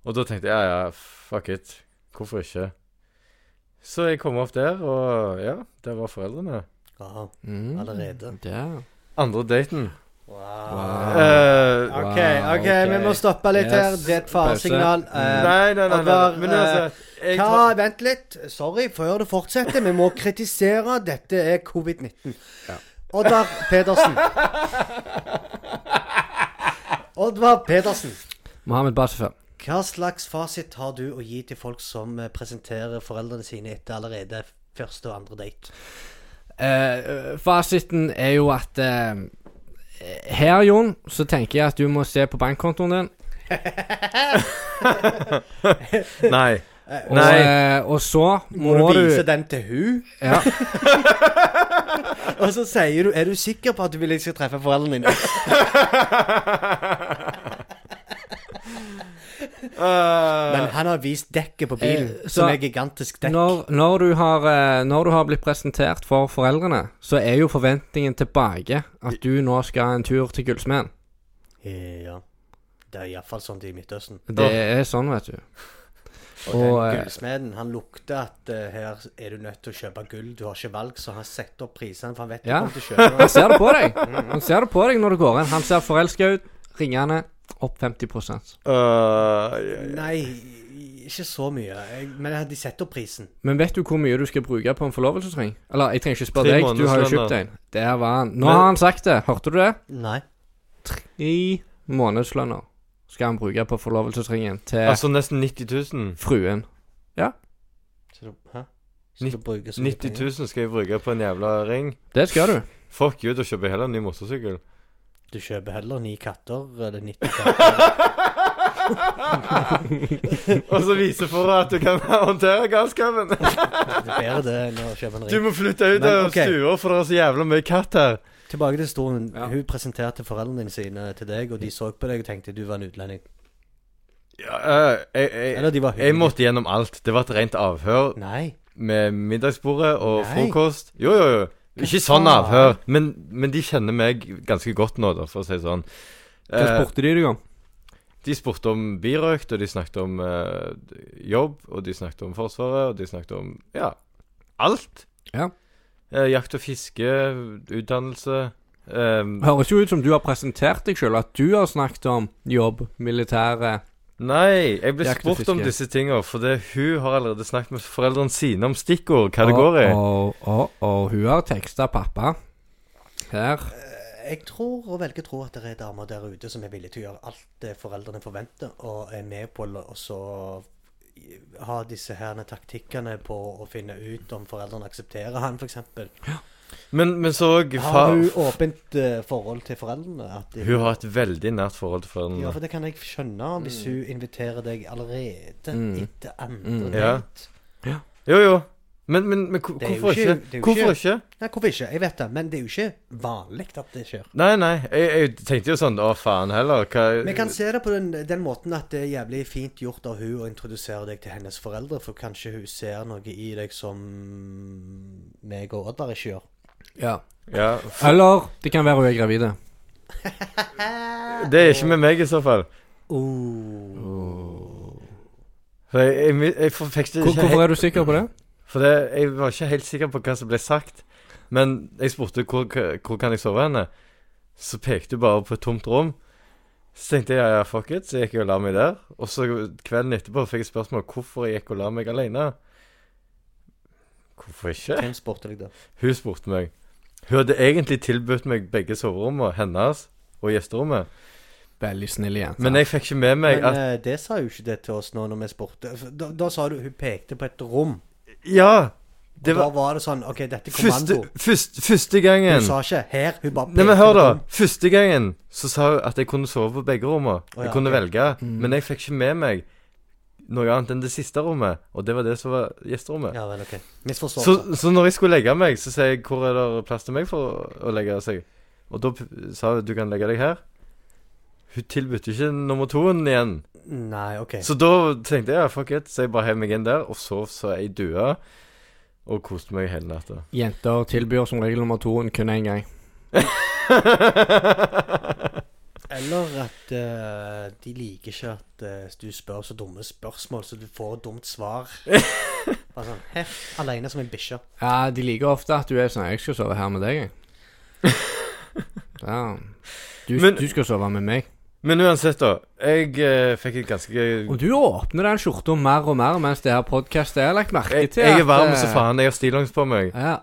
Speaker 3: Og da tenkte jeg ja, ja, fuck it. Hvorfor ikke? Så jeg kom opp der, og ja, der var foreldrene.
Speaker 1: Aha,
Speaker 2: Mm.
Speaker 1: allerede.
Speaker 2: Ja.
Speaker 3: Andre daten.
Speaker 1: Wow. Ah.
Speaker 2: Wow.
Speaker 3: Eh,
Speaker 1: OK, OK,
Speaker 2: Wow, ok.
Speaker 1: vi må stoppe litt her.
Speaker 2: Yes.
Speaker 1: Det er et faresignal.
Speaker 3: Nei,
Speaker 1: Eh,
Speaker 3: nei, nei. nei,
Speaker 1: Oddvar,
Speaker 3: nei. Men uansett jeg
Speaker 1: eh, Hva,
Speaker 3: tar-
Speaker 1: vent litt. Sorry, før du fortsetter. Vi må kritisere. Dette er covid-19. Oddvar Pedersen. Oddvar Pedersen.
Speaker 2: Mohammed Basifar.
Speaker 1: Hva slags fasit har du å gi til folk som eh, presenterer foreldrene sine etter allerede første og andre date?
Speaker 2: Eh, fasiten er jo at eh, Her, Jon, så tenker jeg at du må se på bankkontoen din.
Speaker 3: Nei.
Speaker 2: Og,
Speaker 3: Nei.
Speaker 2: eh, og så må,
Speaker 1: Må du
Speaker 2: du,
Speaker 1: vise den til hun?
Speaker 2: ja,
Speaker 1: Og så sier du Er du sikker på at du vil jeg skal treffe foreldrene dine?
Speaker 3: Eh,
Speaker 1: Men han har vist dekket på bilen,
Speaker 2: Eh, så-
Speaker 1: som er gigantisk dekk.
Speaker 2: når, når, du har, eh, når du har blitt presentert for foreldrene, så er jo forventningen tilbake at du nå skal en tur til Gullsmeden.
Speaker 1: Eh, Ja. Det er iallfall sånn det er i Midtøsten.
Speaker 2: Det er sånn, vet du.
Speaker 1: Og,
Speaker 2: Og
Speaker 1: den
Speaker 2: eh,
Speaker 1: gullsmeden, han lukter at eh, her er du nødt til å kjøpe gull, du har ikke valg, så han setter opp prisene, for han vet du
Speaker 2: Ja.
Speaker 1: kommer til å kjøpe
Speaker 2: han ser det på deg.
Speaker 3: Mm.
Speaker 2: Han ser det på deg når du går inn. Han ser forelska ut. Ringene opp 50
Speaker 3: Øh,
Speaker 1: Nei, ikke så mye. Jeg, men de setter opp prisen.
Speaker 2: Men vet du hvor mye du skal bruke på en forlovelsesring? Eller, jeg trenger ikke
Speaker 3: Tre
Speaker 2: spørre deg, du har jo
Speaker 3: månedslønner.
Speaker 2: kjøpt en. Der var han. Nå
Speaker 3: Men-
Speaker 2: har han sagt det. Hørte du det?
Speaker 1: Nei.
Speaker 2: Tre månedslønner skal han bruke på forlovelsesringen til
Speaker 3: altså nesten 90 000.
Speaker 2: fruen.
Speaker 1: Så du, hæ? Så du bruker så mye
Speaker 3: 90
Speaker 1: penger?
Speaker 3: 000 skal jeg bruke på en jævla ring.
Speaker 2: Det skal du.
Speaker 3: Fuck you, da kjøper jeg heller en ny motorsykkel.
Speaker 1: Du kjøper heller ni katter eller 90 katter.
Speaker 3: Og så vise for deg at du kan håndtere galskapen.
Speaker 1: Det er bedre det enn å kjøpe en
Speaker 3: Du
Speaker 1: ring.
Speaker 3: må flytte ut
Speaker 1: Men,
Speaker 3: av
Speaker 1: ok.
Speaker 3: stua, for det er så jævla mye katt her.
Speaker 1: Tilbake til historien.
Speaker 2: Ja.
Speaker 1: Hun presenterte foreldrene dine sine til deg, og de så på deg og tenkte du var en utlending.
Speaker 3: Ja, øh, jeg, jeg,
Speaker 1: Eller de var
Speaker 3: jeg
Speaker 1: hyggelige.
Speaker 3: måtte gjennom alt. Det var et rent avhør
Speaker 1: Nei.
Speaker 3: med middagsbordet og
Speaker 1: Nei.
Speaker 3: frokost. Jo, jo, jo. Ikke sånn
Speaker 1: faen?
Speaker 3: avhør, men, men de kjenner meg ganske godt nå, da, for å si det sånn.
Speaker 2: Hva
Speaker 3: Eh,
Speaker 2: spurte de deg om?
Speaker 3: De spurte om birøkt, og de snakket om eh, jobb, og de snakket om Forsvaret, og de snakket om ja, alt.
Speaker 2: Ja.
Speaker 3: Eh, jakt og fiske, utdannelse ehm,
Speaker 2: Høres jo ut som du har presentert deg sjøl, at du har snakket om jobb, militære
Speaker 3: Nei, jeg ble
Speaker 2: Jakt og
Speaker 3: spurt om
Speaker 2: fiske.
Speaker 3: disse tinga, fordi hun har allerede snakket med foreldrene sine om stikkord,
Speaker 2: Ah,
Speaker 3: hva det går i.
Speaker 2: Og, og, og hun har teksta pappa. Her.
Speaker 1: Jeg tror og velger å tro at det er damer der ute som er villige til å gjøre alt det foreldrene forventer, og er med på å så ha disse her taktikkene på å finne ut om foreldrene aksepterer han, f.eks.
Speaker 3: Men, men så òg
Speaker 1: Har
Speaker 3: Hun
Speaker 1: hun åpent eh, forhold til foreldrene? At de,
Speaker 3: har et veldig nært forhold til
Speaker 1: ja,
Speaker 3: foreldrene.
Speaker 1: for det kan jeg skjønne hvis hun inviterer deg allerede
Speaker 2: Mm.
Speaker 1: etter andre
Speaker 2: Mm.
Speaker 3: Ja.
Speaker 1: date.
Speaker 3: Jo, jo. Men, men, men hvor-
Speaker 1: Det er jo
Speaker 3: hvorfor
Speaker 1: ikke-
Speaker 3: ikke?
Speaker 1: det er jo
Speaker 3: Hvorfor ikke?
Speaker 1: Nei, hvorfor ikke? Jeg vet det, men det er jo ikke vanlig at det skjer.
Speaker 3: Nei, nei. Jeg, jeg tenkte jo sånn Å, faen heller. Hva
Speaker 1: Vi kan se det på den, den måten at det er jævlig fint gjort av hun å introdusere deg til hennes foreldre, for kanskje hun ser noe i deg som meg og Oddvar ikke gjør.
Speaker 2: Ja.
Speaker 3: Ja,
Speaker 2: Eller det kan være hun er gravid.
Speaker 3: Det er ikke med meg i så fall.
Speaker 1: Oh.
Speaker 3: For jeg, jeg, mi- jeg for- fikk det
Speaker 2: Hvor-
Speaker 3: ikke
Speaker 2: Hvorfor
Speaker 3: helt,
Speaker 2: er du sikker på det?
Speaker 3: For det, jeg var ikke helt sikker på hva som ble sagt. Men jeg spurte hvor, hva- hvor kan jeg sove henne. Så pekte hun bare på et tomt rom. Så tenkte jeg ja, ja, fuck it, så gikk jeg og la meg der. Og så kvelden etterpå fikk jeg spørsmål hvorfor jeg gikk og la meg alene. Hvorfor ikke?
Speaker 1: Hvem spurte deg, da?
Speaker 3: Hun spurte meg. Hun hadde egentlig tilbudt meg begge soverommene, hennes og gjesterommet.
Speaker 2: Veldig snill jente.
Speaker 3: Men jeg fikk ikke med meg
Speaker 1: Men
Speaker 3: at
Speaker 1: eh, det sa jo ikke det til oss nå når vi spurte. For Da, da sa du hun pekte på et rom.
Speaker 3: Ja!
Speaker 1: Og
Speaker 3: Det
Speaker 1: da
Speaker 3: var
Speaker 1: var eh, det sånn OK, dette er
Speaker 3: første,
Speaker 1: kommando.
Speaker 3: første, første gangen
Speaker 1: Hun sa ikke 'her', hun bare
Speaker 3: Nei, men hør,
Speaker 1: på
Speaker 3: da.
Speaker 1: et rom.
Speaker 3: Første gangen så sa hun at jeg kunne sove på begge rommene.
Speaker 1: Å,
Speaker 3: Jeg
Speaker 1: ja,
Speaker 3: kunne
Speaker 1: ok. Mm.
Speaker 3: velge, men jeg fikk ikke med meg noe annet enn det siste rommet, og det var det som var gjesterommet.
Speaker 1: Ja vel, OK. Misforståelse.
Speaker 3: Så, så når jeg skulle legge meg, så sa jeg 'Hvor er det plass til meg for å legge seg?' Og da p- sa hun 'Du kan legge deg her'. Hun tilbød ikke nummer toen igjen.
Speaker 1: Nei, OK.
Speaker 3: Så da tenkte jeg ja, 'fuck it', så jeg bare heiv meg inn der og sov så ei due. Og koste meg hele natta.
Speaker 2: Jenter tilbyr som regel nummer to kun én gang.
Speaker 1: Eller at eh, de liker ikke at eh, du spør så dumme spørsmål, så du får et dumt svar. Bare sånn Her, aleine som en bikkje.
Speaker 2: Ja, de liker ofte at du er sånn 'Jeg skal sove her med deg', jeg. Ja. Du,
Speaker 3: Men-
Speaker 2: du skal sove med meg.
Speaker 3: Men uansett, da. Jeg eh, fikk et ganske
Speaker 2: Og du åpner den skjorta mer og mer mens det her podkastet er lagt merke
Speaker 3: jeg,
Speaker 2: til.
Speaker 3: jeg er
Speaker 2: at,
Speaker 3: varm
Speaker 2: eh,
Speaker 3: som faen. Jeg har stillongs på meg.
Speaker 2: Ja.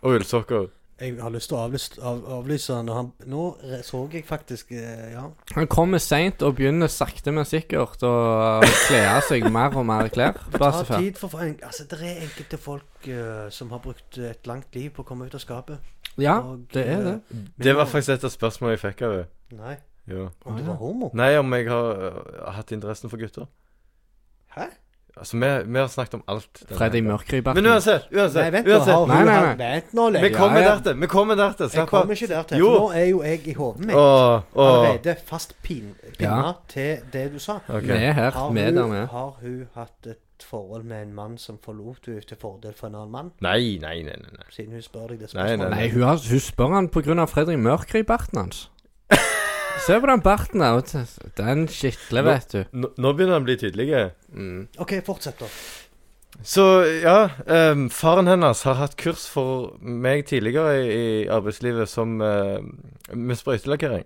Speaker 3: Og ullsokker.
Speaker 1: Jeg har lyst til å avlyse, av, avlyse han, og han Nå re- så jeg faktisk eh, Ja.
Speaker 2: Han kommer seint og begynner sakte, men sikkert å kle av seg mer og mer klær.
Speaker 1: Ta
Speaker 2: Bare så
Speaker 1: tid for for en, Altså, det er enkelte folk eh, som har brukt et langt liv på å komme ut av skapet.
Speaker 2: fælt. Ja,
Speaker 1: og,
Speaker 2: det er det.
Speaker 1: eh,
Speaker 3: Det var
Speaker 1: nå-
Speaker 3: faktisk et av spørsmålene jeg fikk av henne.
Speaker 1: Nei.
Speaker 3: Ja.
Speaker 1: Om du var homo?
Speaker 3: Nei, om jeg har øh, hatt interessen for gutter.
Speaker 1: Hæ?
Speaker 3: Altså, vi, vi har snakket om alt. denne
Speaker 2: Fredrik
Speaker 3: uka.
Speaker 2: Mørkryper.
Speaker 3: Men uansett,
Speaker 1: Nei,
Speaker 3: uansett,
Speaker 1: vent nå.
Speaker 3: uansett.
Speaker 1: har hun-
Speaker 2: Nei, nei, nei.
Speaker 1: Vent nå,
Speaker 3: Vi
Speaker 1: Leif.
Speaker 2: Ja,
Speaker 3: kommer
Speaker 2: ja.
Speaker 3: dertil. Vi kommer dertil.
Speaker 1: Jeg
Speaker 3: Slapp av.
Speaker 1: kommer ikke der til.
Speaker 3: Jo.
Speaker 1: for Nå er jo jeg i hodet mitt.
Speaker 3: Åh, åh.
Speaker 1: allerede fast pin, pinna
Speaker 2: Ja.
Speaker 1: til det du sa.
Speaker 3: Ok.
Speaker 2: Vi er her.
Speaker 1: Har
Speaker 2: Vi er der
Speaker 1: hun,
Speaker 2: vi er.
Speaker 1: har hun hatt et forhold med en mann som forlot henne til fordel for en annen mann?
Speaker 3: Nei, nei, nei, nei. nei.
Speaker 1: Siden hun spør deg det
Speaker 3: Nei,
Speaker 1: spørsmålet.
Speaker 2: Nei, hun, har, hun spør han på grunn av Fredrik Mørkry, barten hans. Se på den barten der. vet du. Den skitler, vet du.
Speaker 3: Nå, nå begynner han å bli tydelig.
Speaker 2: Mm.
Speaker 1: OK, fortsett, da.
Speaker 3: Så ja, ehm, faren hennes har hatt kurs for meg tidligere i, i arbeidslivet som ehm, med sprøytelakkering.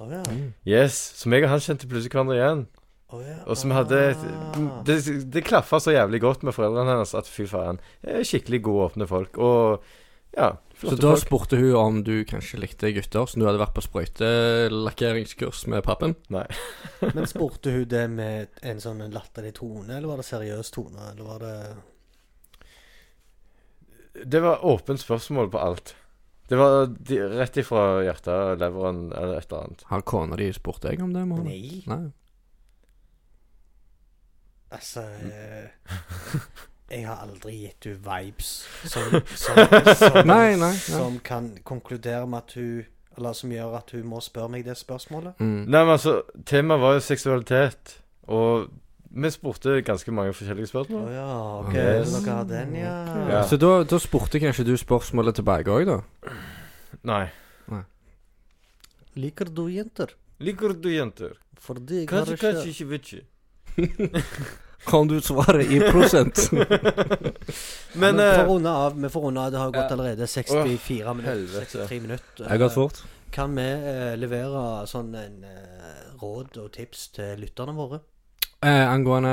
Speaker 1: Å ja.
Speaker 2: Mm.
Speaker 3: Yes, Så meg og han kjente plutselig hverandre igjen.
Speaker 1: Å ja.
Speaker 3: Og som hadde
Speaker 1: Ah.
Speaker 3: Det, det klaffa så jævlig godt med foreldrene hennes at fy faen. eh, Skikkelig gode, åpne folk. Og ja,
Speaker 2: Så
Speaker 3: flotte
Speaker 2: da
Speaker 3: folk.
Speaker 2: spurte hun om du kanskje likte gutter, som du hadde vært på sprøytelakkeringskurs med pappen.
Speaker 3: Nei.
Speaker 1: Men spurte hun det med en sånn latterlig tone, eller var det seriøs tone? Eller var det
Speaker 3: Det var åpent spørsmål på alt. Det var di- rett ifra hjertet, leveren eller et eller annet.
Speaker 2: Har kona di spurt deg om det? Mohammed?
Speaker 1: Nei.
Speaker 2: Nei.
Speaker 1: Altså eh, Jeg har aldri gitt hun vibes som, som, som,
Speaker 2: Nei, nei, nei.
Speaker 1: som kan konkludere med at hun Eller som gjør at hun må spørre meg det spørsmålet.
Speaker 2: Mm.
Speaker 3: Nei, men altså, temaet var jo seksualitet, og vi spurte ganske mange forskjellige
Speaker 1: Å
Speaker 3: spørsmål.
Speaker 1: ja, ok.
Speaker 3: Yes.
Speaker 1: Så dere har den, ja.
Speaker 3: Ja.
Speaker 2: Så da, da spurte kanskje du spørsmålet tilbake òg, da?
Speaker 3: Nei.
Speaker 1: Liker du jenter?
Speaker 3: Liker du jenter?
Speaker 1: Fordi jeg har
Speaker 3: Kanskje,
Speaker 1: ikke
Speaker 3: kanskje, ikke, vet ikke.
Speaker 2: Kan du svare i prosent?
Speaker 3: Men
Speaker 1: Vi
Speaker 3: eh,
Speaker 1: får runde av. Vi får runde av. Det har gått
Speaker 3: ja.
Speaker 1: allerede 64 minutter.
Speaker 3: helvete.
Speaker 1: 63 minutter.
Speaker 2: Jeg har gått fort.
Speaker 1: Kan vi eh, levere sånn en eh, råd og tips til lytterne våre
Speaker 2: Eh, angående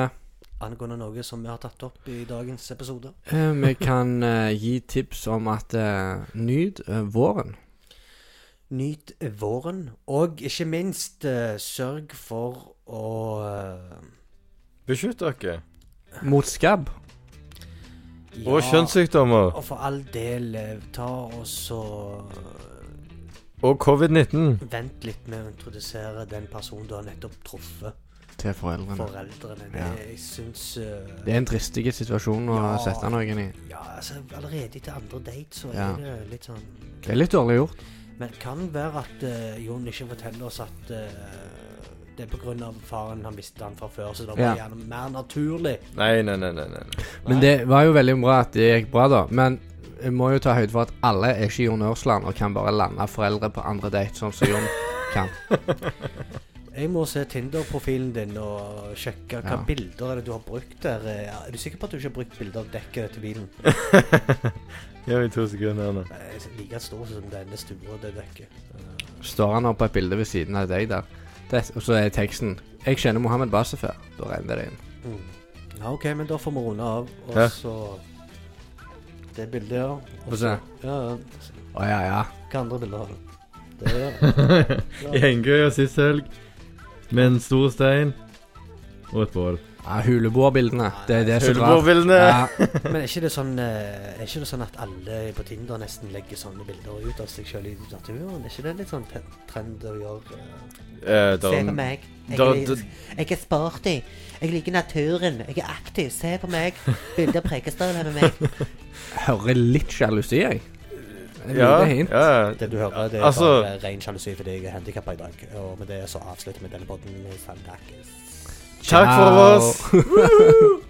Speaker 1: angående noe som vi har tatt opp i dagens episode?
Speaker 2: eh, Vi kan eh, gi tips om at eh, Nyt eh, våren.
Speaker 1: Nyt våren, og ikke minst eh, sørg for å eh,
Speaker 3: beskytt dere.
Speaker 2: Mot skabb.
Speaker 3: Og kjønnssykdommer.
Speaker 1: Og for all del, eh, ta og så eh,
Speaker 3: Og covid-19.
Speaker 1: Vent litt med å introdusere den personen du har nettopp truffet.
Speaker 2: Til foreldrene.
Speaker 1: Foreldrene. Det,
Speaker 2: Ja.
Speaker 1: Jeg syns
Speaker 2: Det er en dristig situasjon å
Speaker 1: Ja.
Speaker 2: sette noen i.
Speaker 1: Ja, altså allerede etter andre date så er
Speaker 2: Ja.
Speaker 1: det litt sånn
Speaker 2: Det er litt dårlig gjort.
Speaker 1: Men det kan være at eh, Jon ikke forteller oss at eh, det er på grunn av faren han mistet han fra før, så det var
Speaker 2: Ja.
Speaker 1: gjerne mer naturlig.
Speaker 3: Nei, nei, nei, nei. nei.
Speaker 2: Men det var jo veldig bra at det gikk bra, da. Men jeg må jo ta høyde for at alle er ikke i Jon Ørsland og kan bare lande foreldre på andre date, sånn som Jon kan.
Speaker 1: Jeg må se Tinder-profilen din og sjekke hva
Speaker 2: Ja.
Speaker 1: bilder er det du har brukt der. Eh, Er du sikker på at du ikke har brukt bilder av dekket til bilen?
Speaker 3: Gi meg to sekunder her nå.
Speaker 1: Nei, jeg er Like stor som denne stua, det dekket.
Speaker 2: Står han opp på et bilde ved siden av deg der. Det, og så er teksten 'Jeg kjenner Mohammed Bassefer'. Da renner det inn.
Speaker 1: Mm. Ja, OK, men da får vi runde av, og
Speaker 3: Ja.
Speaker 1: så Det bildet, ja. Og
Speaker 2: Få
Speaker 1: så-
Speaker 2: se.
Speaker 1: Ja, ja.
Speaker 2: Å ja, ja.
Speaker 1: Hva andre bilder har du? Det er
Speaker 3: I Hengøya sist helg. Med en stor stein og et bål.
Speaker 2: Ja, Huleboerbildene. Det er det som drar.
Speaker 3: Huleboervillene!
Speaker 2: Ja,
Speaker 1: Men er ikke, det sånn, eh, er ikke det sånn at alle på Tinder nesten legger sånne bilder ut av seg sjøl i naturen? Er ikke det litt sånn ten- trend å gjøre? eh?
Speaker 3: Eh,
Speaker 5: Se på
Speaker 3: der-
Speaker 5: meg. Jeg,
Speaker 3: da-
Speaker 5: er-
Speaker 3: da-
Speaker 5: jeg er sporty. Jeg liker naturen. Jeg er aktiv. Se på meg. Bilde av Prekestøl her med meg.
Speaker 2: hører litt sjalusi, jeg. Et
Speaker 3: ja,
Speaker 2: lite hint.
Speaker 3: ja.
Speaker 1: Det du hører, det er
Speaker 3: Altså-
Speaker 1: bare ren sjalusi fordi jeg er handikappa i dag. Og med det så avslutter vi denne podden. Snakkes.
Speaker 3: Takk for oss.
Speaker 2: Ciao.